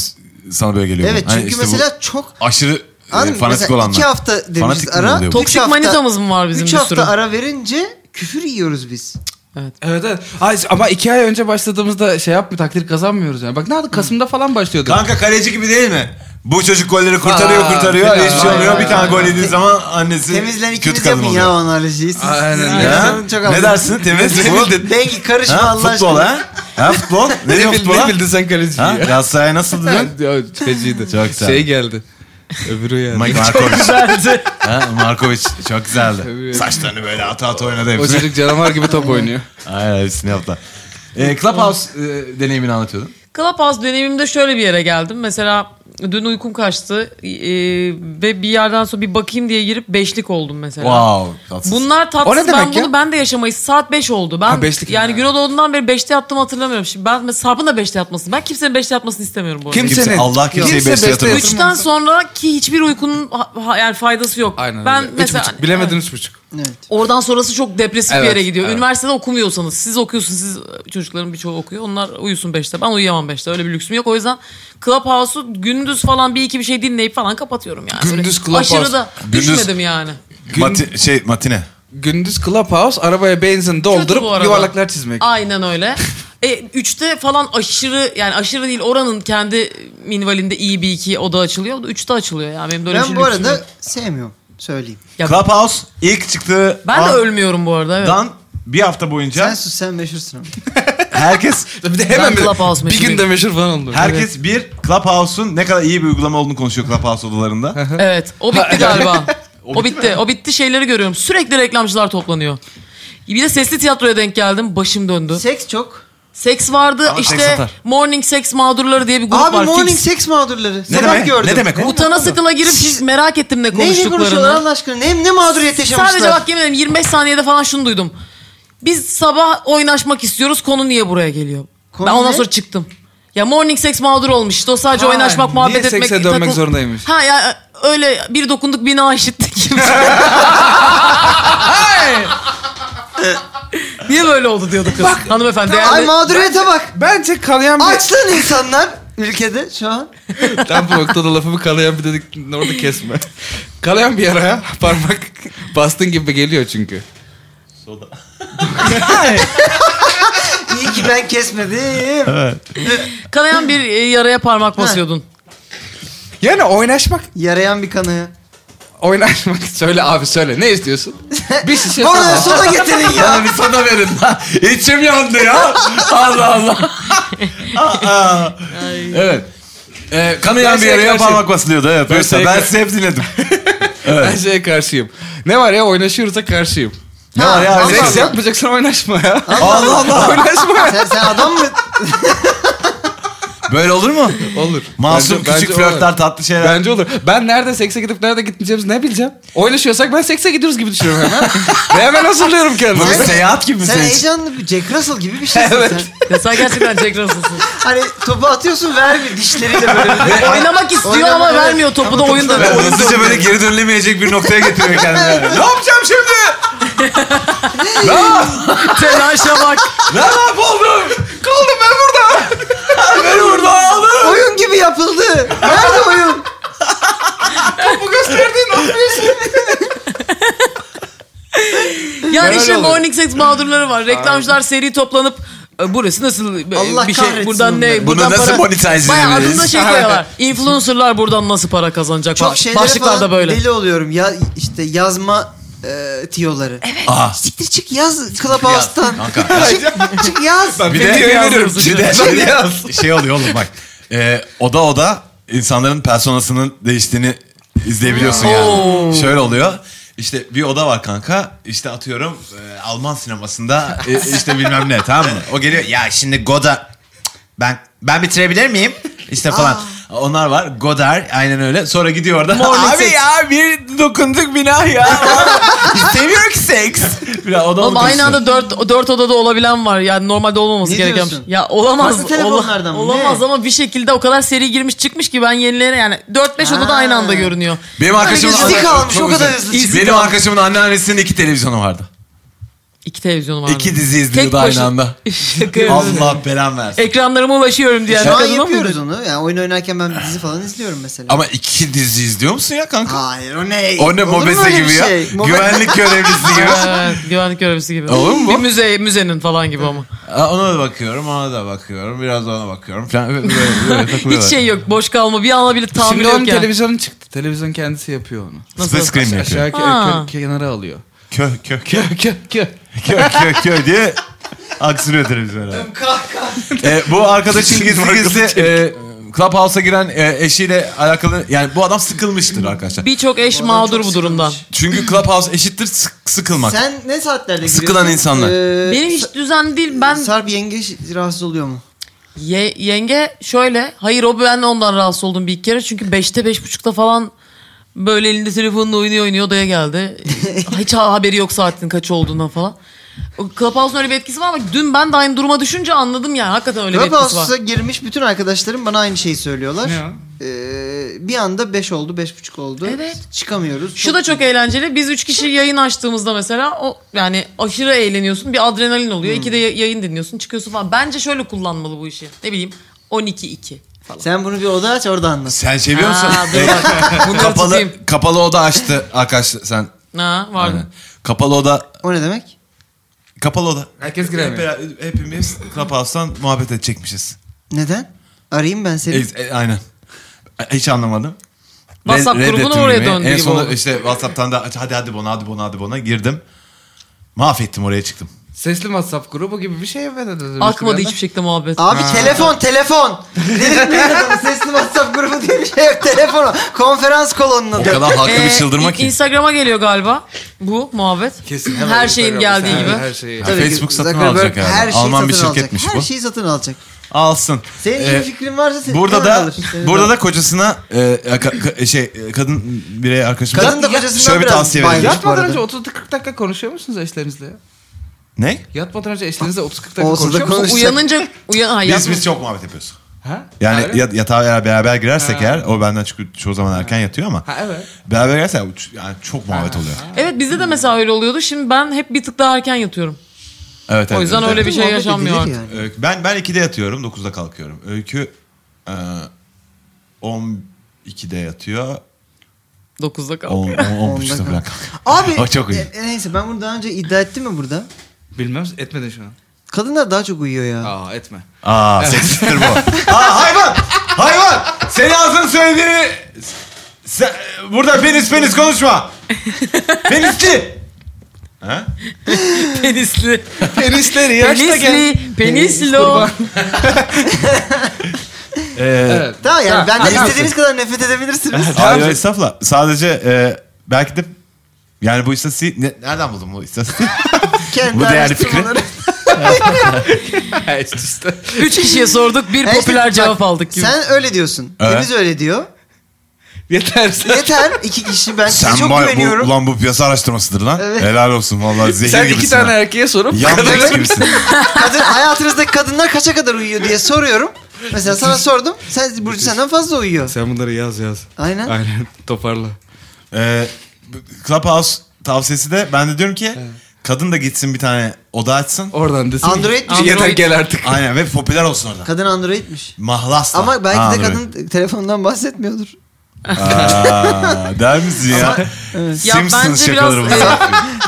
B: sana böyle geliyor?
D: Evet
B: Hani
D: çünkü
B: işte bu
D: mesela çok
B: aşırı e,
D: Anladın mı?
B: fanatik
D: Mesela
B: olanlar.
D: iki hafta demişiz
B: Fanatik mi
D: ara.
B: oluyor bu?
E: Toksik
D: üç hafta-
E: manitamız mı var bizim
D: Üç
E: bir sürü?
D: hafta ara verince küfür yiyoruz biz.
E: Evet.
C: Evet evet. Ay, ama iki ay önce başladığımızda şey yapmıyor takdir kazanmıyoruz yani. Bak nerede Kasım'da falan başlıyordu.
B: Kanka kaleci gibi değil mi? Bu çocuk golleri kurtarıyor
C: Aa,
B: kurtarıyor.
C: fena.
B: Hiçbir şey olmuyor.
D: Aynen.
B: Bir tane gol yediği zaman annesi
D: Temizlen
B: kötü
D: ikiniz
B: kadın
D: yapın ya o
B: oluyor.
D: analojiyi. Siz,
C: Aynen.
D: sizin
C: Ya.
B: Ha?
D: analiziniz çok
B: Ne
D: anlamlı.
B: dersin? Temiz mi?
D: Bu- Peki karışma
B: Ha,
D: Allah
B: futbol
D: aşkına.
B: ha? Ha futbol? Ne
C: Ne,
B: diyor
C: bil-
B: futbola?
C: ne bildin sen kaleciyi
B: Ha?
C: ya?
B: Galatasaray nasıl dün?
C: Ya, Feciydi.
B: Çok güzel.
C: Şey geldi. Öbürü yani.
B: Mike Markovic. ha, Markovic çok güzeldi.
C: Tabii.
B: Saçlarını böyle ata ata oynadı
C: o
B: hepsini.
C: çocuk canavar gibi top oynuyor.
B: Aynen hepsini yaptı. E, Clubhouse e, deneyimini anlatıyordun.
E: Clubhouse deneyimimde şöyle bir yere geldim. Mesela dün uykum kaçtı e, ve bir yerden sonra bir bakayım diye girip beşlik oldum mesela.
B: Wow. tatsız.
E: Bunlar tatsız.
C: O ne demek
E: ben bunu
C: ya?
E: ben de yaşamayız. Saat 5 oldu. Ben
C: Ha, beşlik
E: yani
C: ya.
E: gün doğduğundan beri 5'te yattığımı hatırlamıyorum. Şimdi ben mesela Sarp'ın da 5'te yatmasını. Ben kimsenin 5'te yatmasını istemiyorum bu arada.
B: Kimse- Allah kimseyi
C: Kimse
B: beşte
C: beşte
B: yatırmaz.
C: yatırmaz.
E: 3'ten sonraki hiçbir uykunun ha- ha- yani faydası yok.
C: Aynen
E: ben
C: öyle. Üç
E: mesela
C: buçuk. Bilemedin üç buçuk.
D: Evet.
E: Oradan sonrası çok depresif bir
C: Evet,
E: yere gidiyor.
C: evet.
E: Üniversitede okumuyorsanız siz okuyorsunuz. Siz e, çocukların birçoğu okuyor. Onlar uyusun 5'te. Ben uyuyamam 5'te. Öyle bir lüksüm yok. O yüzden Clubhouse'u gündüz falan bir iki bir şey dinleyip falan kapatıyorum yani. Böyle
C: Gündüz Clubhouse.
E: Aşırı da
B: Gündüz-
E: düşmedim yani.
C: Gün-
B: Mati- şey matine.
C: Gündüz Clubhouse arabaya benzin doldurup
E: bu arada.
C: yuvarlaklar çizmek.
E: Aynen öyle. E, üçte falan aşırı yani aşırı değil oranın kendi minvalinde iyi bir iki oda açılıyor. Üçte açılıyor yani benim de öyle bir
D: Ben
E: şey
D: bu
E: lüksüm
D: arada
E: yok.
D: sevmiyorum. Söyleyeyim.
E: Ya-
B: Clubhouse ilk çıktığı
E: Ben de
B: an-
E: ölmüyorum bu arada. Evet.
B: dan bir hafta boyunca
D: Sen sus sen meşhursun ama.
B: herkes
C: Bir de hemen
E: Ben
C: bir,
E: Clubhouse
C: bir
E: meşhuruyum.
C: günde meşhur falan oldu.
B: herkes bir Clubhouse'un ne kadar iyi bir uygulama olduğunu konuşuyor Clubhouse odalarında.
E: Evet. O bitti galiba.
B: bitti
E: o, bitti. O bitti şeyleri görüyorum. Sürekli reklamcılar toplanıyor. Bir de sesli tiyatroya denk geldim. Başım döndü.
D: Seks çok.
E: Seks vardı
B: Ama seks
E: işte
B: atar.
E: morning sex mağdurları diye bir grup
D: Abi
E: var.
D: morning
E: Fix.
D: seks mağdurları.
B: Ne
D: Sabah
B: demek?
D: gördüm.
B: Ne demek o?
E: Utana sıkıla girip hiç merak ettim ne
D: Neyle konuşuyorlar
E: konuştuklarını.
D: Allah aşkına? Ne, ne mağduriyet yaşamışlar?
E: Sadece bak yemin ederim 25 saniyede falan şunu duydum. Biz sabah oynaşmak istiyoruz. Konu niye buraya geliyor?
D: Konu
E: ben ondan
D: ne?
E: sonra çıktım. Ya morning sex mağdur olmuş. İşte o sadece
C: Ha,
E: oynaşmak,
C: niye
E: muhabbet etmek.
C: sekse dönmek
E: takıl-
C: zorundaymış?
E: Ha ya öyle bir dokunduk bina işittik gibi. niye böyle oldu diyordu kız. Hanımefendi.
D: Ay
E: yani-
D: mağduriyete bak.
C: Bence kalayan bir...
D: Aç lan insanlar ülkede şu an.
C: Tam bu noktada lafımı kalayan bir dedik orada kesme. Kalayan bir yaraya parmak bastın gibi geliyor çünkü.
D: İyi ki ben kesmedim.
E: Kanayan bir e, yaraya parmak basıyordun.
C: Yani oynaşmak,
D: Yarayan bir kanaya.
C: oynaşmak. Söyle abi söyle ne istiyorsun? Bir şişe
D: Bana
C: falan.
D: soda getirin ya.
B: Bana bir soda verin lan. İçim yandı ya. Allah Allah. Aa. evet. Ee, kanayan
C: Ben
B: bir
C: şeye
B: yere
C: karşı-
B: parmak basılıyordu. Evet.
C: Ben
B: Ben,
C: şeye
B: ben
C: karşı-
B: sizi hep dinledim.
C: Ben şeye karşıyım. Ne var ya oynaşıyorsa karşıyım.
B: ne var ya?
D: Allah
C: Seks
B: öyle-
C: yapmayacaksan oynaşma ya.
B: Allah Allah.
C: oynaşma ya.
D: Sen, sen adam mı?
B: Böyle olur mu?
C: Olur.
B: Masum
C: Bence-
B: küçük
C: bence
B: flörtler
C: olur.
B: tatlı şeyler.
C: Bence olur. Ben nerede sekse gidip nerede gitmeyeceğimizi ne bileceğim. Oynaşıyorsak ben sekse gidiyoruz gibi düşünüyorum hemen. Ve hemen hazırlıyorum
B: Bu bir
C: kendimi.
B: seyahat gibi mi
D: Sen
B: senin için?
D: heyecanlı bir Jack Russell gibi bir şeysin
C: Evet.
D: sen.
E: Ya sen gerçekten Jack Russell'sın.
D: Hani topu atıyorsun vermiyor dişleriyle böyle.
E: Oynamak istiyor
D: Oynamak-
E: ama
D: evet.
E: vermiyor topu da
D: Ama
E: oyunda.
D: topu
B: Ve
D: da-
E: Oyun
B: hızlıca böyle geri dönülemeyecek bir noktaya getiriyor kendini. ne yapacağım şimdi?
E: Telaşa bak.
B: Ne yapalım? Kaldım ben burada. ben burada aldım.
D: Oyun gibi yapıldı. Nerede oyun?
E: Yani
C: Ben
E: işte
C: öyle
E: morning sex mağdurları var. Reklamcılar seri toplanıp "E, burası nasıl e,
D: Allah
E: bir şey
D: kahretsin
E: buradan ne
B: Bunu
D: onları.
E: buradan
B: nasıl
E: para
B: monetize
E: Bayağı
B: edebiliriz?
E: adında şey koyuyorlar. Influencerlar buradan nasıl para kazanacak?
D: Çok
E: Ba-
D: şeylere
E: Başlıklar da
D: falan
E: böyle.
D: deli oluyorum. Ya işte yazma e, tiyoları.
B: Aa.
D: Siktir çık yaz Clubhouse'tan.
B: Kanka.
D: Çık, çık yaz.
B: Bir
C: Ben diye
B: de,
C: yazdım.
B: bir de
C: Ben diye
B: şey, şey oluyor oğlum bak. Ee, oda oda insanların personasının değiştiğini izleyebiliyorsun yani. Şöyle oluyor. İşte bir oda var kanka. İşte atıyorum e, Alman sinemasında e, işte bilmem ne tamam mı? O geliyor ya şimdi Goda ben ben bitirebilir miyim? İşte falan. Onlar var. Godard aynen öyle. Sonra gidiyor orada.
D: Morning
B: Abi
D: sex."
B: ya bir dokunduk bina ya. İstemiyor ki seks. Biraz o da
E: Oğlum
B: onu
E: aynı
B: konuşuyor.
E: anda dört, dört odada olabilen var. Yani normalde olmaması
D: Ne
E: gereken. şey.
D: diyorsun?
E: Ya olamaz.
D: Nasıl telefonlardan mı?
E: olamaz
D: Ne?
E: ama bir şekilde o kadar seri girmiş çıkmış ki ben yenilere yani 4-5 odada
D: Ha.
E: aynı anda görünüyor.
B: Benim arkadaşımın
D: Herkes
B: Çok
D: dik almış o kadar
B: güzel.
D: hızlı çıktı.
B: Benim arkadaşımın anneannesinin iki televizyonu vardı.
E: İki televizyonum vardı.
B: İki dizi izliyordu
E: Tek
B: aynı
E: başı-
B: anda.
E: Şaka yapıyorum.
B: Allah belan versin.
E: Ekranlarıma ulaşıyorum diye.
D: Şu an yapıyoruz onu. Yani oyun oynarken ben dizi falan izliyorum mesela.
B: Ama iki dizi izliyor musun ya kanka?
D: Hayır o ne?
B: O ne
D: Olur mu
B: mobese
D: öyle bir
B: gibi ya?
D: şey? Mobe-
B: Güvenlik görevlisi gibi.
E: Evet, güvenlik görevlisi gibi.
B: Olur mu bu?
E: Bir müze, müzenin falan gibi ama.
B: Ha, ona da bakıyorum, ona da bakıyorum, biraz ona bakıyorum falan. Böyle, böyle, böyle
E: Hiç
B: takılıyorlar.
E: şey yok. Boş kalma. Bir ana bile tahammül
C: Şimdi onun
E: yok yani.
C: televizyonu çıktı. Televizyon kendisi yapıyor onu.
B: Split
E: Nasıl?
B: screen mi yapıyor?
C: Aşağı
E: Ha.
C: kö- kö- kenara alıyor.
B: Kö, kö, kö,
C: Kö- kö- kö.
B: kö, kö, kö diye aksırıyor televizyon herhalde.
D: Kalk, kalk.
B: E, bu arkadaşın gizli gizli e, Clubhouse'a giren e, eşiyle alakalı yani bu adam sıkılmıştır arkadaşlar.
E: Birçok eş
D: Bu adam
E: mağdur
D: çok
E: bu durumdan.
B: Çünkü Clubhouse eşittir sık- sıkılmak.
D: Sen ne saatlerde giriyorsun?
B: Sıkılan insanlar.
D: Ee,
E: Benim hiç düzen değil. Ben
D: Sarp yenge rahatsız oluyor mu?
E: Ye- yenge şöyle. Hayır o ben ondan rahatsız oldum bir iki kere. Çünkü beşte beş buçukta falan böyle elinde telefonla oynuyor oynuyor odaya geldi. Hiç ha- haberi yok saatin kaç olduğundan falan. O Clubhouse'un öyle bir etkisi var ama dün ben de aynı duruma düşünce anladım yani. Hakikaten öyle bir etkisi var.
D: Clubhouse'a girmiş bütün arkadaşlarım bana aynı şeyi söylüyorlar.
C: Ne o?
D: Ee, bir anda 5 oldu, 5.5 oldu.
E: Evet.
D: Çıkamıyoruz.
E: Şu da çok eğlenceli. Biz üç kişi yayın açtığımızda mesela o yani aşırı eğleniyorsun. Bir adrenalin oluyor. İki de ya- yayın dinliyorsun. Çıkıyorsun falan. Bence şöyle kullanmalı bu işi. Ne bileyim 12-2 falan.
D: Sen bunu bir oda aç orada anlat.
B: Sen şey biliyor musun?
E: Aa, dur
B: E,
E: bak. Bunları
B: kapalı,
E: tutayım.
B: kapalı oda açtı arkadaşlar sen.
E: Ha, var
B: Aynen. Kapalı oda,
D: O ne demek?
B: kapalı oda.
C: Herkes
B: Hep,
C: giremiyor.
B: beraber- hepimiz Clubhouse'tan muhabbet edecekmişiz.
D: Neden? Arayayım ben seni.
B: E, e, aynen. E, Hiç anlamadım. Re-
E: WhatsApp grubuna
B: reddettim
E: oraya
B: girmeyi.
E: döndü
B: En
E: gibi
B: sonunda
E: oldu.
B: işte WhatsApp'tan da hadi hadi bona hadi bona hadi bona girdim. Mahvettim oraya çıktım.
C: Sesli WhatsApp grubu gibi bir şey evet.
E: Akmadı hiçbir şey. şekilde muhabbet.
D: Abi telefon telefon. Delirtmeyin adamı. Sesli WhatsApp grubu diye bir şey yok. Telefon. Konferans kolonunun
B: O
D: adı.
B: kadar halkı bir
E: Ee,
B: çıldırma
E: İ-
B: ki.
E: Instagram'a geliyor galiba bu muhabbet.
C: Kesin.
E: Her şeyin
C: Instagram'da.
E: geldiği gibi.
C: Her şeyi.
B: Tabii. Facebook satın alacak herhalde.
D: Her şeyi
B: Alman bir
D: satın
B: şirketmiş
D: alacak.
B: bu.
D: Her şeyi satın alacak.
B: Alsın.
D: Senin
B: Ee,
D: iyi fikrin varsa sen
B: Burada
D: hemen
B: da
D: alır. Seni
B: burada
D: de-
B: da kocasına e, ka- ka- şey e, kadın birey arkadaşımız
D: Kadın da kocasından
B: şöyle bir
D: biraz
B: tavsiye
D: baygın.
B: vereyim.
D: Ya- bu
C: Yatmadan
D: arada.
C: önce 30-40 dakika konuşuyor musunuz eşlerinizle? ya?
B: Ne?
C: Yatmadan önce eşlerinizle 30-40 dakika
D: Olsa da
C: konuşuyor musunuz?
D: konuş-
E: Uyanınca uyan ha,
B: Biz
E: yapma.
B: biz çok muhabbet yapıyoruz.
C: Ha?
B: Yani
C: Öyle mi?
B: ya- yatağa eğer beraber girersek
C: Ha.
B: eğer o benden çünkü çoğu zaman erken yatıyor ama
C: Ha, evet.
B: beraber girersek yani çok muhabbet oluyor.
E: Evet bizde de mesela öyle oluyordu. Şimdi ben hep bir tık daha erken yatıyorum.
B: Evet.
E: O
B: evet,
E: yüzden
B: evet,
E: öyle
B: evet.
E: bir şey
D: Muhabbet
E: yaşanmıyor
D: edilir
E: artık.
D: yani.
B: Öykü- Ben ben 2'de yatıyorum, 9'da kalkıyorum. Öykü e, 12'de yatıyor.
E: 9'da kal.
B: 10 10
D: Onda
B: buçukta
D: kal-
B: falan kalkıyor.
D: Abi
B: O çok iyi.
D: e, neyse ben bunu daha önce iddia ettim mi burada?
C: Bilmem etmedin şu an.
D: Kadınlar daha çok uyuyor ya.
C: Aa etme.
B: Aa seksisttir bu. Aa hayvan! Hayvan! Senin ağzın söylediğini... Sen, burada penis penis konuşma. Penisli. Ha?
E: Penisli.
C: Penisleri
E: Penisli. Penislo.
B: Ee,
C: Evet.
D: Tamam yani
C: Ha,
D: benden
C: haklısın.
D: istediğiniz kadar nefret edebilirsiniz.
B: Hayır hayır, estağfurullah. Sadece e, belki de yani bu istatistiği ne- nereden buldun bu istatistiği?
D: Kendi
B: Bu değerli
D: araştırmaları.
C: Evet işte.
E: Üç kişiye sorduk bir
D: E işte
E: popüler
D: bak,
E: cevap aldık gibi.
D: Sen öyle diyorsun.
B: Evet.
D: Deniz öyle diyor.
C: Yeter sen.
D: Yeter iki kişi ben size
B: Sen
D: çok
B: bay-
D: güveniyorum.
B: bu, ulan bu piyasa araştırmasıdır lan.
D: Evet.
B: Helal olsun vallahi zehir
C: Sen
B: gibisin.
C: iki
B: ha.
C: tane erkeğe sorup
B: Yandex gibisin.
D: Kadın, hayatınızdaki kadınlar kaça kadar uyuyor diye soruyorum. Mesela sana sordum. Sen Burcu senden fazla uyuyor.
C: Sen bunları yaz yaz.
D: Aynen.
C: Aynen toparla.
B: Ee, Clubhouse tavsiyesi de ben de diyorum ki kadın da gitsin bir tane oda açsın.
C: Oradan desin.
D: Android
C: ki,
D: mi?
C: Yeter
E: Android.
C: gel artık.
B: Aynen ve popüler olsun orada.
D: Kadın Android'miş.
B: Mahlasla.
D: Ama belki
B: Ha,
D: de
B: doğru.
D: kadın telefondan bahsetmiyordur.
B: Aa, der misin ya?
E: Ya
B: Simpsons
E: bence
B: şakaları
E: biraz-
B: bunlar.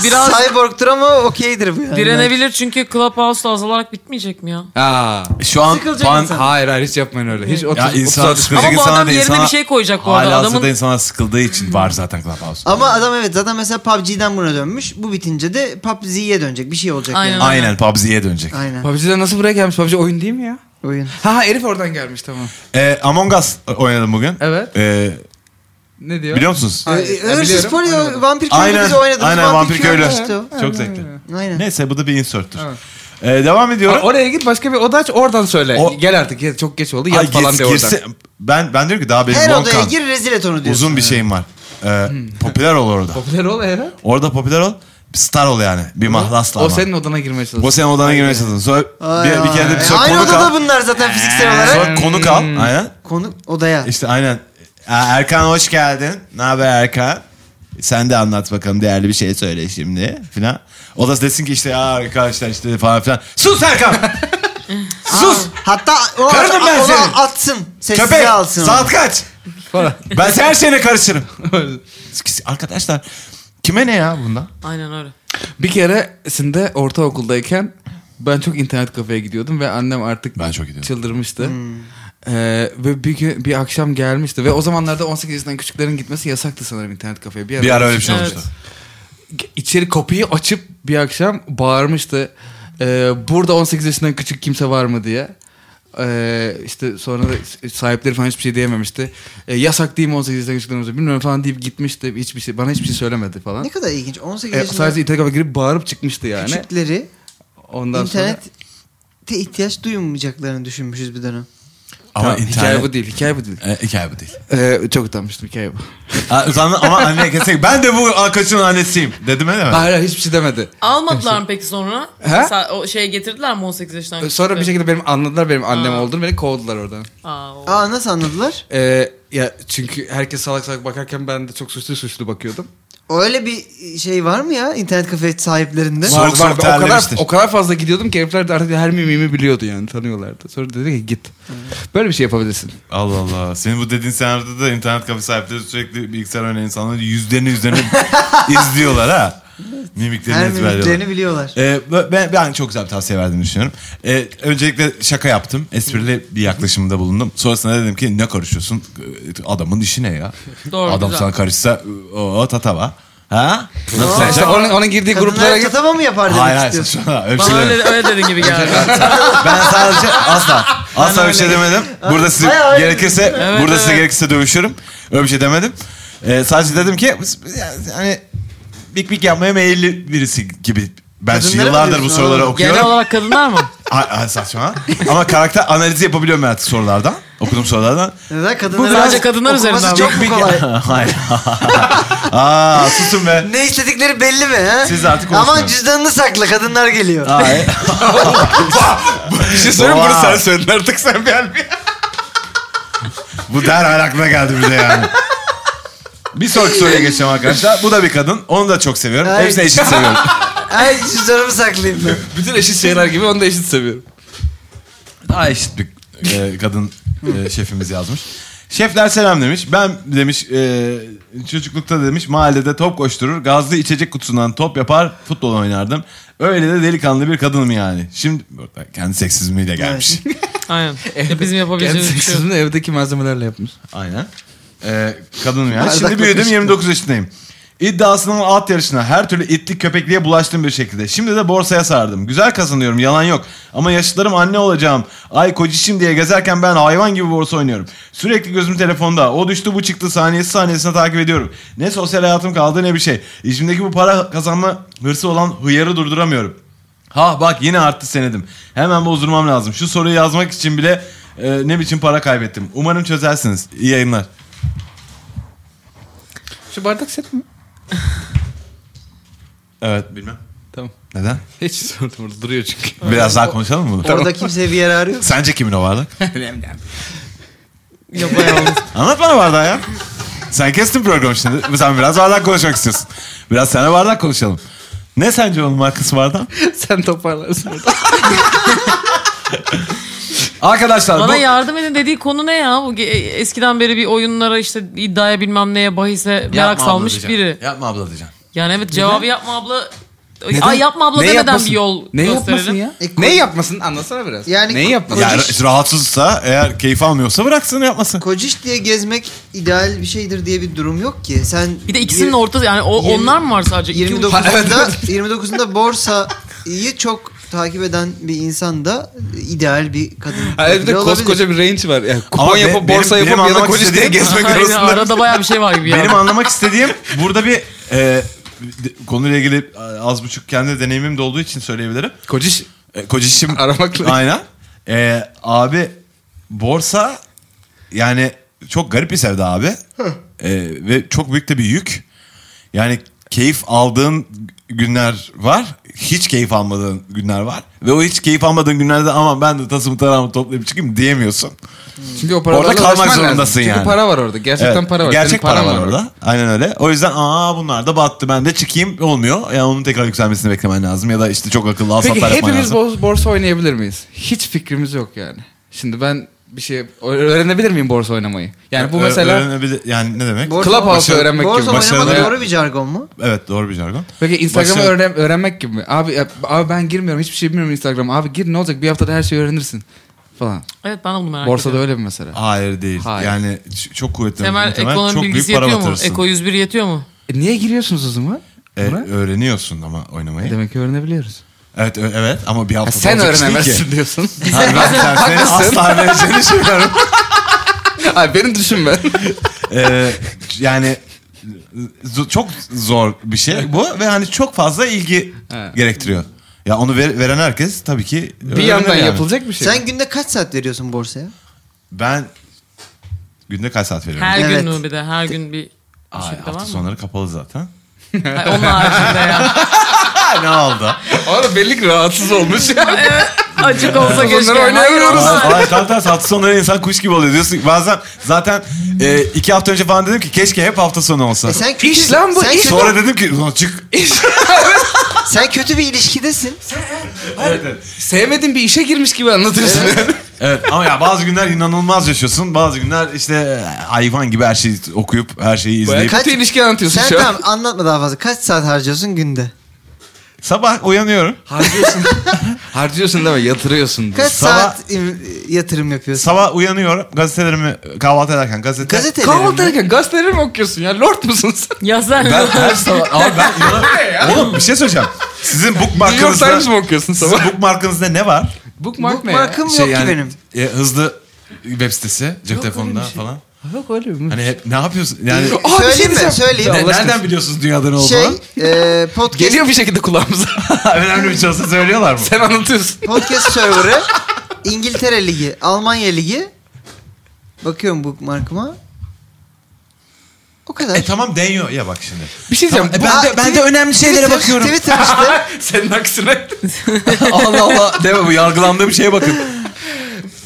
E: Biraz
D: Cyborg'tur ama okeydir bu yani.
E: direnebilir çünkü Clubhouse'da azalarak bitmeyecek mi ya?
C: Aa.
B: Şu an
D: Sıkılacak
B: pan-
D: insan.
C: Hayır hayır hiç yapmayın öyle. Hiç 30
B: ya insan
C: 30
B: sıkılacak
E: Ama bu
B: insana
E: adam
B: da
E: yerine
B: insana-
E: bir şey koyacak bu arada.
B: Hala hazırda
E: Adamın-
B: insana sıkıldığı için var zaten Clubhouse.
D: Ama adam evet zaten mesela PUBG'den buna dönmüş. Bu bitince de PUBG'ye dönecek. Bir şey olacak
E: Aynen.
D: yani.
B: Aynen PUBG'ye dönecek.
D: Aynen.
C: PUBG'den nasıl buraya gelmiş? PUBG oyun değil mi ya?
D: Oyun.
C: Ha ha, herif oradan gelmiş tamam.
B: Ee, Among Us oynadım bugün.
C: Evet.
B: Ee,
C: Ne diyor?
B: biliyor musunuz?
C: Aynen.
D: Ee,
C: Ya
D: Hırsız
C: biliyorum,
D: Poli
C: oynadım.
D: Vampir Köylü
B: Aynen.
D: biz oynadık.
B: Aynen Vampir Köylü.
D: işte o.
B: Çok zevkli.
D: Aynen.
B: Neyse bu da bir insert'tür.
C: Evet.
B: Ee, devam
C: Or-
B: ediyorum.
C: oraya git başka bir oda aç oradan söyle.
B: O-
C: Gel artık ye- çok geç oldu yat
B: Ay,
C: falan
B: gir-
C: de oradan.
B: girse- ben ben diyorum ki daha benim
D: Her
B: long
D: odaya
B: count.
D: gir rezil et onu diyorsun.
B: Uzun bir şeyim var. Ee, popüler ol orada.
C: Popüler ol evet.
B: Orada popüler ol. bir Star ol yani. Bir mahlasla
C: O
B: ama.
C: senin odana girmeye çalışıyor.
B: O senin odana girmeye çalışsın. Sonra
D: Ay,
B: bir, bir kere de
D: ay.
B: bir sonra
D: Aynı
B: konuk
D: odada
B: al.
D: bunlar zaten fiziksel olarak.
B: Sonra konuk al. Aynen.
D: Konuk odaya.
B: İşte aynen. Aa, Erkan hoş geldin. Ne haber Erkan?
A: Sen de anlat bakalım değerli bir şey söyle şimdi filan. O da desin ki işte ya arkadaşlar işte falan filan. Sus Erkan! Sus!
D: Hatta o,
A: Kararım ben
D: onu
A: senin.
D: atsın. Sessize
A: Köpek!
D: alsın onu.
A: Saat kaç?
C: Falan.
A: Ben her şeyine karışırım. Arkadaşlar kime ne ya bundan?
E: Aynen öyle.
C: Bir keresinde ortaokuldayken ben çok internet kafeye gidiyordum ve annem artık
B: Ben çok gidiyordum.
C: çıldırmıştı. Ee, ve bir gün bir akşam gelmişti ve o zamanlarda 18 yaşından küçüklerin gitmesi yasaktı sanırım internet kafeye. Bir ara,
B: Bir ara öyle bir şey
E: Evet.
B: olmuştu.
C: içeri kapıyı açıp bir akşam bağırmıştı. Ee, burada 18 yaşından küçük kimse var mı diye. Ee, işte sonra da sahipleri falan hiçbir şey diyememişti. Ee, yasak değil mi 18 yaşından küçüklerin olması bilmiyorum falan deyip gitmişti. Hiçbir şey, bana hiçbir şey söylemedi falan.
D: Ne kadar ilginç. 18
C: Ee,
D: yaşında
C: sadece internet kafeye girip bağırıp çıkmıştı yani.
D: küçükleri
C: Ondan
D: internete
C: sonra
D: ihtiyaç duymayacaklarını düşünmüşüz bir dönem.
B: Ama
C: Tamam, hikaye
B: internet...
C: bu değil, hikaye bu değil.
B: E, hikaye bu değil.
C: Ee, çok utanmıştım hikaye bu.
B: Ha, Utandı ama anneye kesek. Ben de bu kaçın annesiyim. Dedim öyle mi?
C: Hayır hayır, hiçbir şey demedi.
E: Almadılar mı peki sonra?
C: He?
E: Sa- o şeye getirdiler mi 18 yaşından?
C: Ee, Sonra bir şey şekilde benim anladılar benim annem olduğunu beni kovdular oradan.
E: Aa, o-
D: Aa nasıl anladılar?
C: Ee, ya çünkü herkes salak salak bakarken ben de çok suçlu suçlu bakıyordum.
D: Öyle bir şey var mı ya internet kafe sahiplerinde?
B: Var. Soğuk soğuk
C: o kadar
B: terlemiştir.
C: o kadar fazla gidiyordum ki herifler de artık her mimimi biliyordu yani tanıyorlardı. Sonra dedi ki git. Böyle bir şey yapabilirsin.
B: Allah Allah. Senin bu dediğin senaryoda da internet kafe sahipleri sürekli bilgisayar oynayan insanları yüzlerini yüzlerini izliyorlar ha. Mimiklerini
D: Her
B: ezberliyorlar.
D: mimiklerini biliyorlar.
B: Ee, ben, ben çok güzel bir tavsiye verdiğini düşünüyorum. Ee, öncelikle şaka yaptım. Esprili bir yaklaşımda bulundum. Sonrasında dedim ki ne karışıyorsun? Ee, Adamın işi ne ya?
E: Doğru,
B: Adam
E: güzel.
B: sana karışsa o tatava. Ha? Nasıl
D: Aa,
B: olacak?
C: İşte onun, onun girdiği gruplara
D: Kadınlar
C: git.
D: tatava mı yapar demek
B: Hayır hayır
D: istiyorsun?
B: saçmalama. Öyle bir şey
E: Bana
B: demedim.
E: öyle, öyle dedin gibi geldi.
B: Ben sadece asla. Asla bir şey demedim. Burada size
D: Bayağı öyle
B: gerekirse
E: Evet,
B: burada size
E: evet.
B: gerekirse dövüşürüm. Öyle bir şey demedim. Ee, sadece dedim ki yani, hani bik bik yapmaya meyilli birisi gibi. Ben şu
D: Kadınlara mı
B: yıllardır bu
D: diyorsun
B: soruları
D: oğlum?
B: okuyorum.
E: Genel olarak kadınlar mı?
B: Ay, ay, saçma. Ama karakter analizi yapabiliyorum ben artık sorulardan. Okuduğum sorulardan.
D: Neden
E: Bu
D: kadınlara
E: sadece kadınlar
D: Okuması
E: üzerinden.
D: çok mu kolay?
B: Hayır. Aa susun be.
D: ne istedikleri belli mi? He?
B: Siz artık
D: Aman
B: konuşmayın.
D: cüzdanını sakla kadınlar geliyor.
B: Hayır.
C: Bir şey
B: söyleyeyim, bunu sen
C: söyledin artık sen gelmiyor.
B: Bu derhal aklına geldi bize yani. Bir sonraki soruya geçeceğim arkadaşlar. Bu da bir kadın. Onu da çok seviyorum.
D: Ay.
B: Hepsini eşit seviyorum.
D: Ay cüzdanımı saklayayım ben.
C: Bütün eşit şeyler gibi onu da eşit seviyorum.
B: Daha eşit bir e, kadın e, şefimiz yazmış. Şefler selam demiş. Ben demiş e, çocuklukta demiş mahallede top koşturur. Gazlı içecek kutusundan top yapar futbol oynardım. Öyle de delikanlı bir kadınım yani. Şimdi kendi seksizmiyle gelmiş.
E: Aynen. Ya bizim
C: Kendi
E: yapabileceğimiz bir şey yok.
C: seksizmini evdeki malzemelerle yapmış.
B: Aynen. E, kadınım yani. Şimdi
D: Bardakla
B: büyüdüm
D: koştum.
B: 29 yaşındayım. İddiasının at yarışına her türlü itlik köpekliğe bulaştım bir şekilde. Şimdi de borsaya sardım. Güzel kazanıyorum yalan yok. Ama yaşıtlarım anne olacağım. Ay kocişim diye gezerken ben hayvan gibi borsa oynuyorum. Sürekli gözüm telefonda. O düştü bu çıktı saniyesi saniyesine takip ediyorum. Ne sosyal hayatım kaldı ne bir şey. İçimdeki bu para kazanma hırsı olan hıyarı durduramıyorum. Ha bak yine arttı senedim. Hemen bozdurmam lazım. Şu soruyu yazmak için bile e, ne biçim para kaybettim. Umarım çözersiniz. İyi yayınlar.
C: Şu bardak set mi?
B: Evet bilmem.
C: Tamam.
B: Neden?
C: Hiç sordum orada duruyor çünkü.
B: Biraz daha konuşalım mı bunu?
D: Orada kimseye bir yarar yok.
B: Sence kimin o varlık?
E: Yapayalnız.
B: Anlat bana bardağı ya. Sen kestin programı şimdi. Sen biraz bardak konuşmak istiyorsun. Biraz sana bardak konuşalım. Ne sence onun markası bardağın?
C: sen toparlarsın orada.
B: Arkadaşlar
E: Bana
B: bu...
E: yardım edin dediği konu ne ya? Bu ge- e, eskiden beri bir oyunlara işte iddiaya bilmem neye bahise merak
B: Yapma abla
E: salmış
B: diyeceğim.
E: biri.
B: Yapma abla diyeceğim.
E: Yani evet cevabı yapma abla.
C: Neden?
E: Ay yapma abla
C: Ne
E: demeden
C: yapmasın?
E: bir yol
C: Ne yapmasın
E: gösterelim.
C: ya?
D: E, ko-
C: ne yapmasın anlatsana biraz.
D: Yani
C: Neyi
D: ko-
C: yapmasın?
B: Ya
D: Yani-
B: ra- rahatsızsa eğer keyif almıyorsa bıraksın yapmasın.
D: Kociş diye gezmek ideal bir şeydir diye bir durum yok ki. Sen
E: Bir de ikisinin ortası yani o,
D: Yirmi-
E: onlar mı var sadece? İki ucu-
D: 29'unda 29'unda borsayı çok takip eden bir insan da ideal bir kadın.
C: Hayır bir de
D: profili olabilir.
C: koskoca bir range var. Yani kupon
B: Ama be-
C: yapıp
B: benim-
C: borsa
B: benim
C: yapıp ya da
B: anlamak
C: koliş diye
B: istediğim-
C: gezmek
E: Aynen,
C: arasında.
E: arada baya bir şey var gibi yani.
B: Benim anlamak istediğim burada bir e, konuyla ilgili e, az buçuk kendi deneyimim de olduğu için söyleyebilirim.
C: Kociş
B: E, kocişim
C: Aramakla.
B: Aynen. E, abi borsa yani çok garip bir sevda abi. E, ve çok büyük de bir yük. Yani keyif aldığın günler var. hiç keyif almadığın günler var. Ve o hiç keyif almadığın günlerde ama ben de tasımı tarağımı toplayıp çıkayım diyemiyorsun.
C: Çünkü o paralarla
B: Orada kalmak
C: uğraşman lazım.
B: zorundasın yani.
C: Çünkü para var orada. Gerçekten
B: Evet,
C: para var.
B: Gerçek
C: Senin
B: para
C: paran
B: var orada. Aynen öyle. O yüzden aa bunlar da battı ben de çıkayım olmuyor. Yani onun tekrar yükselmesini beklemen lazım ya da işte çok akıllı
C: Peki
B: alsatlar yapman
C: hepimiz
B: lazım.
C: bo- borsa oynayabilir miyiz? Hiç fikrimiz yok yani. Şimdi ben bir şey öğrenebilir miyim borsa oynamayı? Yani bu
B: Ö-
C: mesela
B: öğrenebilir- yani ne demek?
D: Borsa-
C: Clubhouse'u
D: Borsa-
C: öğrenmek gibi.
D: Borsa oynamak
B: Başarılı-
D: doğru bir jargon mu?
B: evet doğru bir jargon.
C: peki Instagram'ı
B: Başarı-
C: öğren- öğrenmek gibi mi? Abi ya- abi ben girmiyorum hiçbir şey bilmiyorum Instagram. Abi gir ne olacak bir haftada her şeyi öğrenirsin falan.
E: Evet ben de bunu merak
C: Borsada
E: ediyorum.
C: öyle bir mesela.
B: Hayır değil.
C: Hayır.
B: Yani ç- çok kuvvetli.
E: Temel
B: muhtemel
E: ekonomi
B: çok
E: bilgisi
B: büyük para
E: yetiyor mu?
B: batırırsın.
E: Eko 101 yetiyor mu?
C: E niye giriyorsunuz o zaman?
B: E,
C: Buna?
B: öğreniyorsun ama oynamayı.
C: Demek ki öğrenebiliyoruz.
B: Evet ö- evet ama bir
C: Ha,
B: hafta
C: sen
B: olacak iş değil ki.
C: öğrenemezsin diyorsun.
B: Ha, ben sen- senin asla öğreneceğini düşünmüyorum.
C: Ay benim düşünme.
B: Ee, yani z- çok zor bir şey bu ve hani çok fazla ilgi
C: Evet.
B: gerektiriyor. Ya onu ver- veren herkes tabii ki
C: bir
B: öğrenir
C: yandan
B: yani.
C: yapılacak bir şey.
D: Sen günde kaç saat veriyorsun borsaya?
B: Ben günde kaç saat veriyorum?
E: Her
D: Evet.
E: gün mü bir de? Her gün bir
B: Ay,
E: şey de var
B: hafta
E: mı?
B: sonları kapalı zaten.
E: Hayır, onun haricinde ya.
B: Ha, ne oldu?
C: Orada belli ki rahatsız olmuş.
E: Açık olsa
C: Bunları
E: keşke. Hayır,
C: oynayamıyoruz.
E: olmaz.
B: Ay, tam tersi hafta sonları insan kuş gibi oluyor diyorsun. Bazen zaten e, iki hafta önce falan dedim ki keşke hep hafta sonu olsa.
D: E sen kötü,
C: İş lan bu,
D: sen,
C: iş.
D: kötü,
B: Sonra dedim ki "Ulan çık.
D: sen kötü bir ilişkidesin.
C: Sevmediğin bir işe girmiş gibi anlatıyorsun.
B: Evet ama ya bazı günler inanılmaz yaşıyorsun. Bazı günler işte e, hayvan gibi her şeyi okuyup her şeyi
C: Baya
B: izleyip.
D: Kaç-
C: kötü ilişki anlatıyorsun
D: Sen
C: şu an.
D: tamam anlatma daha fazla. Kaç saat harcıyorsun günde?
B: Sabah uyanıyorum.
C: Harcıyorsun. Harcıyorsun deme yatırıyorsun.
D: Kaç
B: Sabah-
D: saat im- yatırım yapıyorsun?
B: Sabah uyanıyorum. Gazetelerimi kahvaltı ederken gazete.
D: Gazeteleri
C: Kahvaltı
D: mi?
C: ederken gazeteleri mi okuyorsun ya? Lord musun sen?
E: Ya sen
B: Ben her sabah. Abi ben inanamıyorum. Oğlum bir şey söyleyeceğim. Sizin
C: New York Times
B: bookmark'ınızda
C: mi okuyorsun
B: sizin
C: sabah?
B: bookmark'ınızda ne var?
C: Bookmark ne ya? Şey
D: Bookmark'ım yok ki benim.
B: e, hızlı web sitesi cep
C: Yok öyle
B: telefonunda
C: bir şey.
B: falan.
C: Yok öyle mi?
B: Hani hep, ne yapıyorsun? Yani
C: Aa, bir şey
D: söyleyeyim
C: diyeceğim.
D: mi?
B: ne-
D: Söyleyeyim.
C: Allah
B: nereden
C: aşkına.
B: biliyorsunuz dünyada ne
D: Şey,
B: olduğunu?
D: e, podcast,
C: Geliyor bir şekilde kulağımıza.
B: Önemli bir şey olsa söylüyorlar mı?
C: Sen anlatıyorsun.
D: podcast serverı İngiltere Ligi, Almanya Ligi. Bakıyorum bookmark'ıma. O kadar.
B: E tamam deniyor ya bak şimdi.
C: Bir şey diyeceğim.
B: E,
C: bu-
B: ben, de,
D: Aa,
B: ben de
D: tweet-
B: önemli şeylere
D: Twitter,
B: bakıyorum.
D: Twitter işte.
C: Senin aksine.
B: Allah Allah deme bu yargılandığım şeye bakın.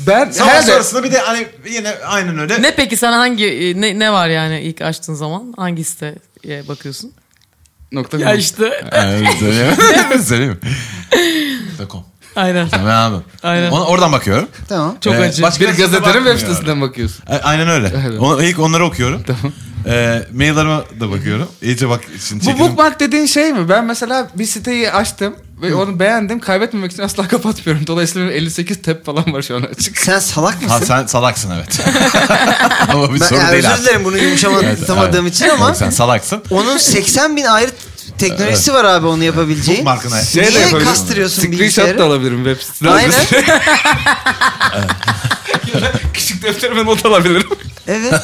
C: Ben
B: Sabah
C: herhalde
B: sonrasında bir de hani yine aynen öyle.
E: ne peki sen hangi e, ne, ne var yani ilk açtığın zaman hangi siteye bakıyorsun?
C: nokta
E: Ya
C: com.
E: işte
B: Evet, şey söyleyeyim mi? Söyleyeyim mi? Takom.
E: aynen.
B: Ben anladım.
E: Aynen.
B: Ona- oradan bakıyorum.
D: Tamam.
E: Çok
B: Ee,
E: acı.
B: başka
C: bir
B: sitede
C: gazetenin
B: bakmıyorum.
C: web sitesinden bakıyorsun.
B: A- Aynen öyle.
C: Evet.
B: Ona- ilk onları okuyorum. Tamam. maillerime de bakıyorum. İyice bak şimdi
C: Bu
B: çekinim-
C: bookmark dediğin şey mi? Ben mesela bir siteyi açtım ve onu beğendim. Kaybetmemek için asla kapatmıyorum. Dolayısıyla benim 58 tab falan var şu an açık.
D: Sen salak mısın?
B: Ha sen salaksın evet. ama bir
D: ben,
B: sorun
D: yani
B: değil
D: özür
B: artık.
D: dilerim bunu yumuşatamadığım
B: evet.
D: için ama
B: Yok, sen salaksın.
D: onun 80 bin ayrı teknolojisi var abi onu yapabileceğin.
B: Bookmark'ına.
D: Şey- Niye kastırıyorsun
C: Screenshot
D: bilgisayarı?
C: da alabilirim web sitesinden.
D: Aynen.
C: Küçük defterime not alabilirim.
D: Evet.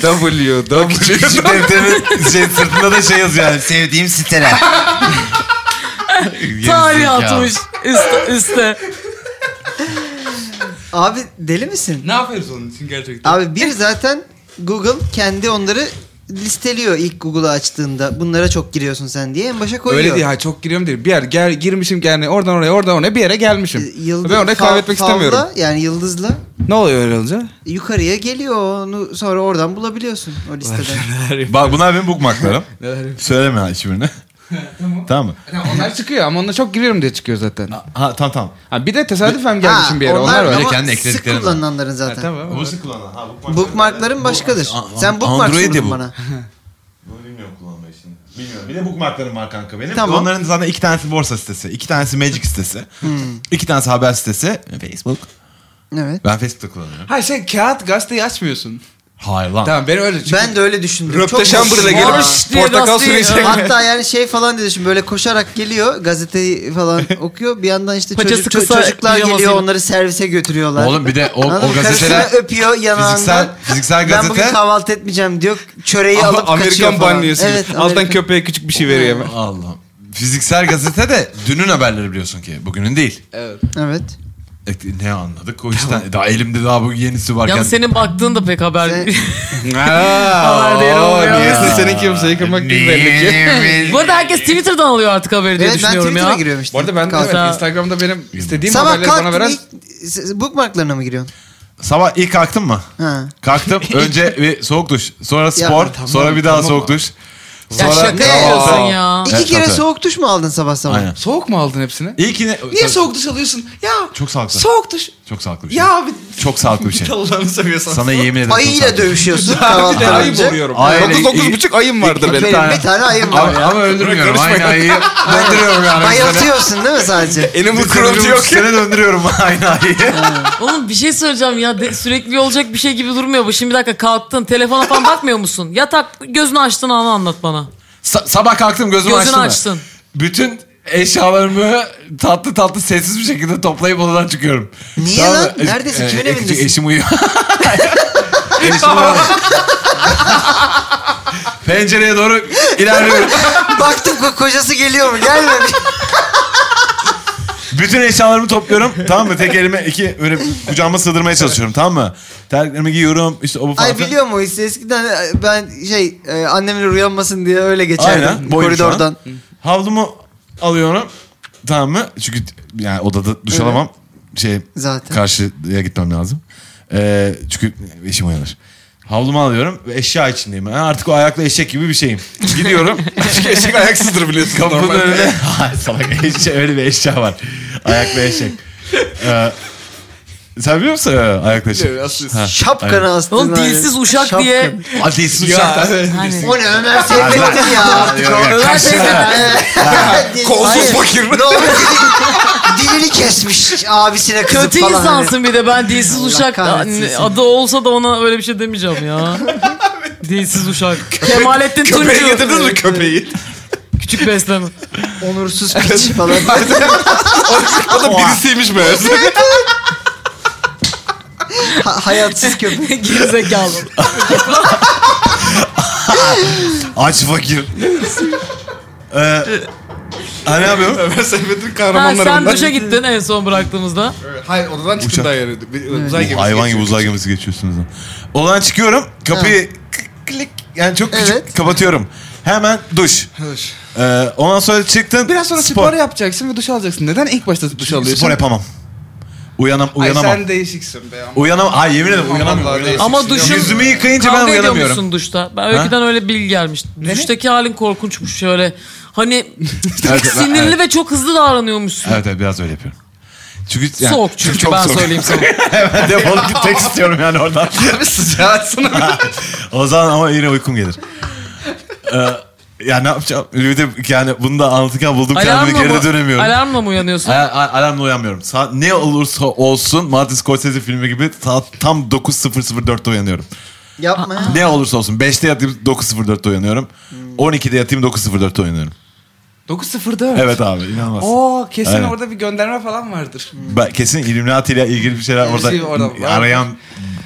C: W, W.
B: Küçük defterin şey, sırtında da şey yazıyor yani. Sevdiğim siteler. Geri
E: Tarih
B: zekalı.
E: atmış üste, üste.
D: Abi deli misin?
C: ne yapıyoruz onun için gerçekten?
D: Abi bir zaten Google kendi onları listeliyor ilk Google'ı açtığında. Bunlara çok giriyorsun sen diye en başa koyuyor.
C: Öyle değil ha çok giriyorum değil. Bir yer gel, girmişim yani oradan oraya oradan oraya bir yere gelmişim.
D: E, Yıldız,
C: ben orayı
D: fav-
C: kaybetmek
D: favla,
C: istemiyorum.
D: Yani yıldızla
C: Ne oluyor öyle olunca?
D: yukarıya geliyor onu sonra oradan bulabiliyorsun o listeden.
B: Bak bunlar benim bookmarklarım.
C: Neler yap-
B: Söyleme ha hiçbirini. tamam. mı?
C: Yani onlar çıkıyor ama onunla çok giriyorum diye çıkıyor zaten.
B: Ha tamam tamam.
C: Ha bir de tesadüfen gelmişim bir yere. Onlar,
D: ama
C: var.
B: öyle kendi ekledikleri
D: Sık
B: var.
D: kullanılanların zaten.
C: Tamam.
B: Bu sık kullanan. Ha bookmark.
D: Bookmarkların başkadır.
B: An-
D: Sen bookmark
B: Android ya
D: sundun
B: bu.
D: bana.
B: Bunu bilmiyorum kullanmayı şimdi. Bilmiyorum. Bir de bookmarklarım var kanka benim.
D: Tamam.
B: Onların zaten iki tanesi borsa sitesi, iki tanesi magic sitesi,
D: Hmm.
B: iki tanesi haber sitesi, Facebook.
D: Evet.
B: Ben Facebook'ta kullanıyorum.
C: Ha şey kağıt gazeteyi açmıyorsun.
B: Hayır lan.
C: Tamam ben öyle çünkü.
D: Ben de öyle düşündüm.
C: Röpte Şambır'la
D: hoşuma-
C: gelip
E: Hoş diye
C: portakal suyu
E: gazeteyi-
C: içecek.
D: Hatta yani şey falan dedi şimdi böyle koşarak geliyor gazeteyi falan okuyor bir yandan işte
E: Paçası
D: çocuk, ço-
E: kısa,
D: çocuklar
E: pijamasıyla.
D: geliyor onları servise götürüyorlar.
B: Oğlum bir de o,
D: Anladın
B: o
D: mı? Karısını
B: gazeteler
D: öpüyor yanağından.
B: fiziksel, fiziksel
D: Ben bugün
B: gazete.
D: kahvaltı etmeyeceğim diyor çöreği
C: Ama
D: alıp kaçıyor
C: Amerikan
D: falan.
C: banlıyorsun.
D: Evet,
C: Alttan
D: Amerikan-
C: köpeğe küçük bir şey veriyor hemen.
B: Allah'ım. Fiziksel gazete de dünün haberleri biliyorsun ki. Bugünün değil.
C: Evet.
D: Evet.
B: E, ne anladık o işten? Daha elimde daha bu yenisi varken.
E: Yalnız senin baktığın da pek haber.
D: Sen-
C: Aa,
E: değeri olmuyor.
C: Niyeyse senin kimseyi kırmak değil belli ki.
E: Bu arada herkes Twitter'dan alıyor artık haberi diye
D: Evet ben
E: düşünüyorum
D: Twitter'a
E: ya.
D: giriyorum işte.
C: Bu arada ben de
D: Kalk.
C: evet, Instagram'da benim istediğim
D: Sabah
C: haberleri bana veren...
D: kalktın ilk bookmarklarına mı giriyorsun?
B: Sabah ilk kalktın mı?
D: Ha.
B: Kalktım. Önce bir soğuk duş. Sonra spor.
D: tamam,
B: sonra bir daha
C: tamam.
B: soğuk duş.
E: Ya
B: Sonra-
E: şaka
D: Aa.
E: yapıyorsun ya.
D: İki
B: Evet,
D: kere
B: tabii.
D: soğuk duş mu aldın sabah sabah?
B: Aynen.
C: Soğuk mu aldın hepsini?
B: İlkine...
C: Niye soğuk duş alıyorsun? Ya
B: Çok sağlıklı.
C: soğuk duş.
B: Çok sağlıklı bir şey.
C: Ya abi
B: Çok sağlıklı bir şey.
C: Allah'ını seviyorsan.
B: Sana yemin ederim. çok
D: Ayıyla
B: sağlıklı. şey.
D: dövüşüyorsun
C: bir de
D: kahvaltıdan
C: ayı
D: önce.
C: boruyorum.
B: Aynen.
C: 9-9,5 ayım vardı
D: Benim
C: benim.
B: tane.
D: bir tane ayım
B: Ama,
D: var.
B: ama öldürmüyorum. Aynı ayıyı döndürüyorum yani.
D: Bayıltıyorsun değil mi sadece?
C: Animal cruelty yok.
B: Sene döndürüyorum aynı ayıyı.
E: Oğlum bir şey söyleyeceğim ya. De- sürekli olacak bir şey gibi durmuyor bu. Şimdi bir dakika kalktın. Telefona falan bakmıyor musun? Yatak gözünü açtın anı anlat bana.
B: Sa- sabah kalktım gözümü
E: Gözünü
B: açtım. ben.
E: açtın.
B: Bütün eşyalarımı tatlı tatlı sessiz bir şekilde toplayıp odadan çıkıyorum.
D: Niye
B: Tamam
D: lan?
B: mı? E-
D: Neredesin?
B: e,
D: Kimin
B: e-
D: evindesin?
B: Eşim uyuyor. eşim uyuyor. Pencereye doğru ilerliyorum.
D: Baktım ko- kocası geliyor mu? Gelmemiş.
B: Bütün eşyalarımı topluyorum. tamam mı? Tek elime iki böyle kucağıma sığdırmaya çalışıyorum. Tamam mı? Terliklerimi giyiyorum. İşte o bu falan.
D: Ay biliyor mu işte eskiden e, ben şey e, annemin uyanmasın diye öyle geçerdim
B: Aynen, boyum şu
D: koridordan.
B: Havlumu alıyorum. Tamam mı? Çünkü yani odada duş alamam. Şey
D: Zaten.
B: karşıya gitmem lazım. Ee, çünkü eşim uyanır. Havlumu alıyorum ve eşya içindeyim. Ben artık o ayakla eşek gibi bir şeyim. Gidiyorum.
C: Eşek ayaksızdır biliyorsun
B: Kapının
C: normalde.
B: önüne. Hayır, Salak eşya, öyle bir eşya var. Ayakla eşek. Ee, sen biliyor musun ee, ayakla eşek?
C: Evet, aslında-
B: Ha.
D: Şapkanı astın.
E: Oğlum
D: aynen.
E: dilsiz uşak
D: Şapkanı.
E: diye.
B: Adilsiz
C: Ya,
B: uçaktan.
E: Hani.
D: O ne Ömer Seyfettin ya artık.
B: Yok, yok,
E: Ömer
B: kaç-
E: teyze.
D: Hayır.
C: Kolsuz fakir.
D: Ne oldu? Dili- Dilini kesmiş abisine kızıp
E: Kötü
D: falan. hani.
E: insansın bir de ben dilsiz
D: Allah
E: uşak
D: kahretsin seni.
E: adı olsa da ona öyle bir şey demeyeceğim ya. dilsiz uşak. Kemalettin
C: Köpeği
E: Tuncu.
C: getirdiniz mi köpeği?
E: Küçük besleme.
D: Onursuz piç falan.
C: O da birisiymiş meğerse.
D: Ha- hayatsız köpek.
E: Gerizekalı.
B: Aç fakir. ee, ha, ne yapıyorum?
C: Ömer Seyfettin
E: ha, sen
C: kahramanlarından.
E: duşa gittin en son bıraktığımızda.
C: Hayır odadan çıktın
B: Uçak.
C: daha yere. Bir- Uzay gemisi.
B: Hayvan gibi şey.
C: geçiyor.
B: uzay gemisi geçiyorsunuz. lan. Odan çıkıyorum. Kapıyı k- klik yani çok küçük
D: Evet.
B: kapatıyorum. Hemen duş.
C: Dur.
B: Ee, ondan sonra çıktın.
C: Biraz sonra spor. yapacaksın ve duş alacaksın. Neden ilk başta duş alıyorsun?
B: Spor yapamam. Uyanam, uyanamam.
C: Ay sen değişiksin be. ama.
B: Uyanam. Ay yemin ederim uyanamıyorum.
C: Vallahi
B: uyanamıyorum.
E: Ama
C: değişiksin.
E: duşun-
B: Yüzümü yıkayınca ben
E: Kavga ediyor
B: uyanamıyorum.
E: musun duşta? Ben öyküden öyle bilgi gelmiş. Duştaki halin korkunçmuş şöyle. Hani
B: Evet, ben-
E: sinirli
B: evet.
E: ve çok hızlı davranıyormuşsun.
B: Evet evet biraz öyle yapıyorum. Çünkü yani,
E: Soğuk çünkü ben söyleyeyim sana.
B: Hemen defolup gitmek istiyorum yani oradan.
C: Abi sıcağı sınır.
B: O zaman ama yine uykum gelir. Ee, ya ne yapacağım? Bir de yani bunu da anlatırken buldum kendimi
E: Alarmla
B: geri
E: mı,
B: dönemiyorum.
E: alarmla mı uyanıyorsun?
B: Alarm, alarmla uyanmıyorum. Saat ne olursa olsun Martin Scorsese filmi gibi saat tam 9.004'te uyanıyorum.
D: Yapma ya.
B: Ne olursa olsun 5'te yatayım 9.04'te uyanıyorum.
C: Hmm.
B: 12'de yatayım 9.04'te uyanıyorum.
C: 9.04.
B: Evet abi inanılmaz.
C: Oo kesin
B: Aynen.
C: orada bir gönderme falan vardır.
B: Ben kesin Illuminati ile ilgili bir şeyler
C: Bir
B: orada,
C: şey orada var.
B: arayan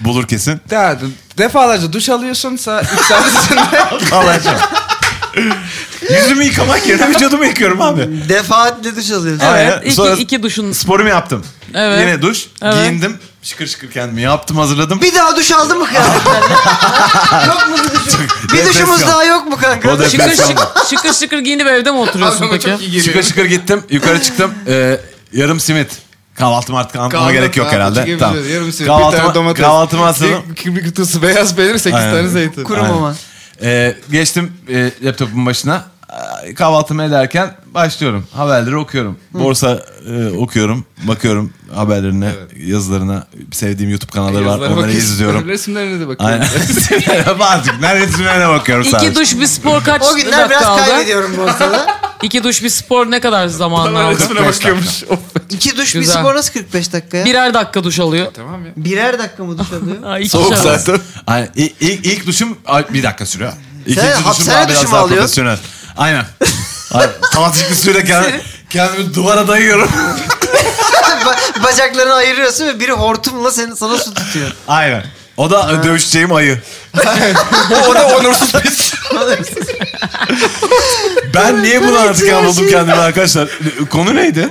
B: bulur kesin.
C: Ya, defalarca duş alıyorsunsa 3 saat içinde
B: Alacağım. Yüzümü yıkamak yerine vücudumu yıkıyorum abi.
D: Defaatle duş alıyorsun.
B: Evet.
E: Evet. İki,
B: Sonra-
E: iki duşun.
B: Sporumu yaptım.
E: Evet.
B: Yine duş.
E: Evet.
B: Giyindim. Şıkır şıkır kendimi yaptım hazırladım.
D: Bir daha duş aldın mı kanka? yok mu bir duşun? Bir
B: Nefes
D: duşumuz
B: kaldı.
D: daha yok mu
B: O
D: kanka?
B: da-
E: Şıkır
B: Ben-
E: şıkır, şıkır şıkır giyinip evde mi oturuyorsun
C: Aklıma çok
E: peki?
C: iyi geliyor.
B: Şıkır şıkır gittim. Yukarı çıktım. Ee, yarım simit. Kahvaltımı artık anlatmama
C: Kahvaltı-
B: gerek yok
C: kahvaltı
B: herhalde.
C: gibi
B: Tamam.
C: biliyoruz. Yarım simit, bir tane
B: Kahvaltımı,
C: domates.
B: kahvaltımı hazırladım.
C: bir, bir, bir kutusu beyaz peynir 8
B: Aynen.
C: tane zeytin.
D: Kuru
B: Aynen.
D: mama.
B: Ee, geçtim e, laptopumun başına. Ee, Kahvaltımı ederken başlıyorum. Haberleri okuyorum. Borsa e, okuyorum. Bakıyorum haberlerine, yazılarına. Sevdiğim YouTube kanalları var.
C: Yazılara
B: Onları
C: bakıyorsun.
B: izliyorum.
C: Resimlerine de bakıyorum.
B: Aynen. Artık neredeyse bakıyorum sadece.
E: İki duş bir spor kaç
D: O günler biraz
E: dakika aldı?
D: kaybediyorum borsada.
E: İki duş bir spor ne kadar zaman
C: Bana
E: aldı?
C: resmine bakıyormuş. Of.
D: İki duş bir
E: Güzel.
D: spor nasıl 45 dakika ya?
E: Birer dakika duş alıyor.
C: tamam ya.
D: Birer dakika mı duş alıyor?
E: Ha, iki
C: Soğuk
E: şarap.
C: zaten.
B: Aynen. İlk, ilk, ilk duşum ay, bir dakika sürüyor. İkinci duşum
D: hapishane
B: daha
D: duşu
B: biraz
D: mu
B: daha
D: alıyorsun?
B: profesyonel. Aynen. Aynen. Tavacıklı suyla kendimi, kendimi duvara dayıyorum.
D: Ba- bacaklarını ayırıyorsun ve biri hortumla seni sana su tutuyor.
B: Aynen. O da dövüşeceğim ayı.
C: O da onursuz pis.
B: Ben niye bunu artık buldum kendimi arkadaşlar? Konu neydi?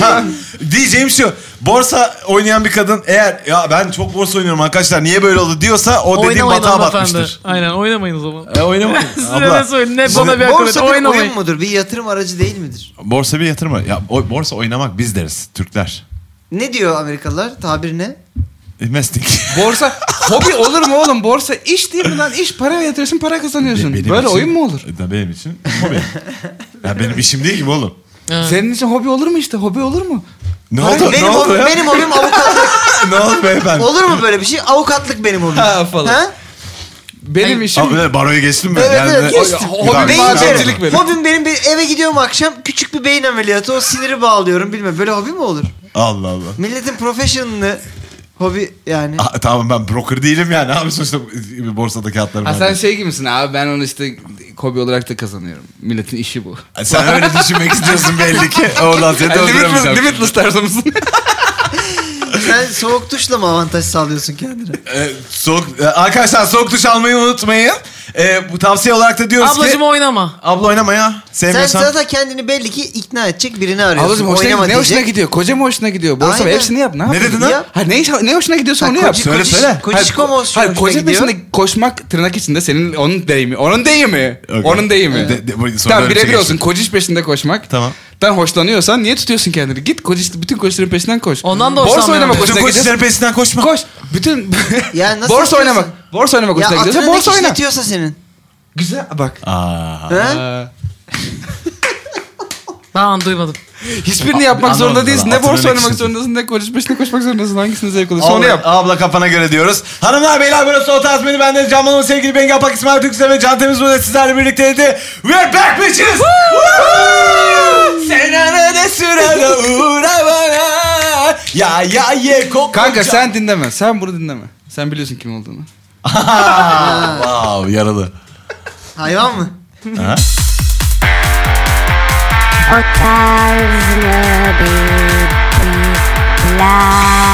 A: Ha, diyeceğim şu. Borsa oynayan bir kadın eğer ya ben çok borsa oynuyorum arkadaşlar niye böyle oldu diyorsa o dediğim
E: Oynamayın
A: batağa
E: hanımefendi.
A: batmıştır.
E: Aynen oynamayın o zaman.
A: E, oynamayın.
E: Size ne
A: Abla
E: söyleyeyim ne
A: Şimdi
E: bana bir akıl et.
D: Borsa bir
E: Oynamayın.
D: oyun mudur? Bir yatırım aracı değil midir?
B: Borsa bir yatırma. Ya o- borsa oynamak biz deriz Türkler. E,
D: Ne diyor Amerikalılar? Tabir ne?
B: Investing.
C: Borsa hobi olur mu oğlum? Borsa iş değil mi lan? İş para yatırırsın para kazanıyorsun.
B: Benim
C: Böyle
B: için-
C: oyun mu olur?
B: Da benim için hobi. ya benim işim değil ki bu oğlum.
E: Evet.
C: Senin için hobi olur mu işte? Hobi olur mu?
B: Ne
D: Hayır,
B: oldu?
D: benim
B: ne oldu
D: hobim-
B: ya?
D: benim hobim avukatlık.
B: ne oldu beyefendi?
D: Olur mu böyle bir şey? Avukatlık benim hobim.
C: Ha, falan. Benim
E: Ay,
C: işim
B: Abi ne, baroya geçtim mi?
D: Evet, evet,
B: ne-
D: geçtim.
B: Ay,
C: Hobim
B: güzel,
D: Beyin
B: güzel.
C: madencilik.
D: cerrahı.
C: benim.
D: Hobim benim bir eve gidiyorum akşam küçük bir beyin ameliyatı o siniri bağlıyorum bilmem böyle hobi mi olur?
B: Allah Allah.
D: Milletin professional'ını hobi yani.
C: Ah.
B: Aa, tamam ben broker değilim yani abi sonuçta bir borsada kağıtlarım
C: Ha
B: var.
C: sen şey gibisin abi ben onu işte hobi olarak da kazanıyorum. Milletin işi bu.
B: E, Sen öyle düşünmek istiyorsun belli ki. Oradan seni öldüremişim.
C: limitless tarzı mısın?
D: Sen soğuk duşla mı avantaj sağlıyorsun kendine?
B: Ee, soğuk, ee, arkadaşlar soğuk duş almayı unutmayın. Ee, bu tavsiye olarak da diyoruz
E: Ablacım
B: ki...
E: oynama.
B: Abla oynama ya.
D: Sen
B: Sevmiyorsan...
D: zaten kendini belli ki ikna edecek birini arıyorsun.
C: Ablacım hoşuna
D: Oynama
C: gidiyor. Ne hoşuna
D: diyecek.
C: gidiyor? Koca mı hoşuna gidiyor? Borsa mı?
D: Aynen.
C: Hepsini yap. Ne,
B: Ne
C: yapıyorsun?
B: dedin
D: lan?
C: Ha ne, ne hoşuna gidiyorsa onu
D: Ha,
C: yap.
D: koca-
B: Söyle,
D: koca-
B: söyle.
D: Kocişko mu hoşuna
C: Hayır koca
D: gidiyor?
C: peşinde koşmak tırnak içinde senin onun deyimi. Onun deyimi.
B: Okey.
C: Onun deyimi.
B: De- de- bu- sonra
C: tamam
B: öyle bir şey
C: birebir olsun.
B: geçti.
C: Kociş peşinde koşmak.
B: Tamam.
C: Ben hoşlanıyorsan niye tutuyorsun kendini? Git kociş, bütün koçların peşinden koş.
E: Ondan da
C: Borsa
E: hoşlanmıyorum.
C: oynamak
B: Bütün
C: hoşuna gidiyorsa
B: koçların peşinden koşma.
C: koş. Bütün
D: Ya nasıl yapıyorsun?
C: borsa oynamak. Borsa oynamak
D: Ya
C: hoşuna gidiyorsa
D: atını ne
C: borsa oyna.
D: kişnetiyorsa senin?
C: Güzel bak.
B: Aa.
D: Ha?
E: Ben duymadım.
C: Hiçbirini yapmak
B: Anlamadım
C: zorunda
B: ben.
C: değilsin. Ne
B: Hatırlamak
C: borsa oynamak
B: için.
C: zorundasın, ne koç peşinde koşmak zorundasın. Hangisini zevk alıyorsun
B: Abla,
C: onu yap.
B: abla kafana göre diyoruz. Hanımlar beyler burası o tarz beni benden Can Balon sevgili Bengi Apak İsmail Türkse ve Can Temiz burada sizlerle birlikteydi. We're back bitches. Woo! Sen arada sırada uğra bana. Ya ya ye kok.
C: Kanka sen dinleme. Sen bunu dinleme. Sen biliyorsun kim olduğunu.
B: Wow yaralı.
D: Hayvan mı?
F: O tarzına bir biz plan.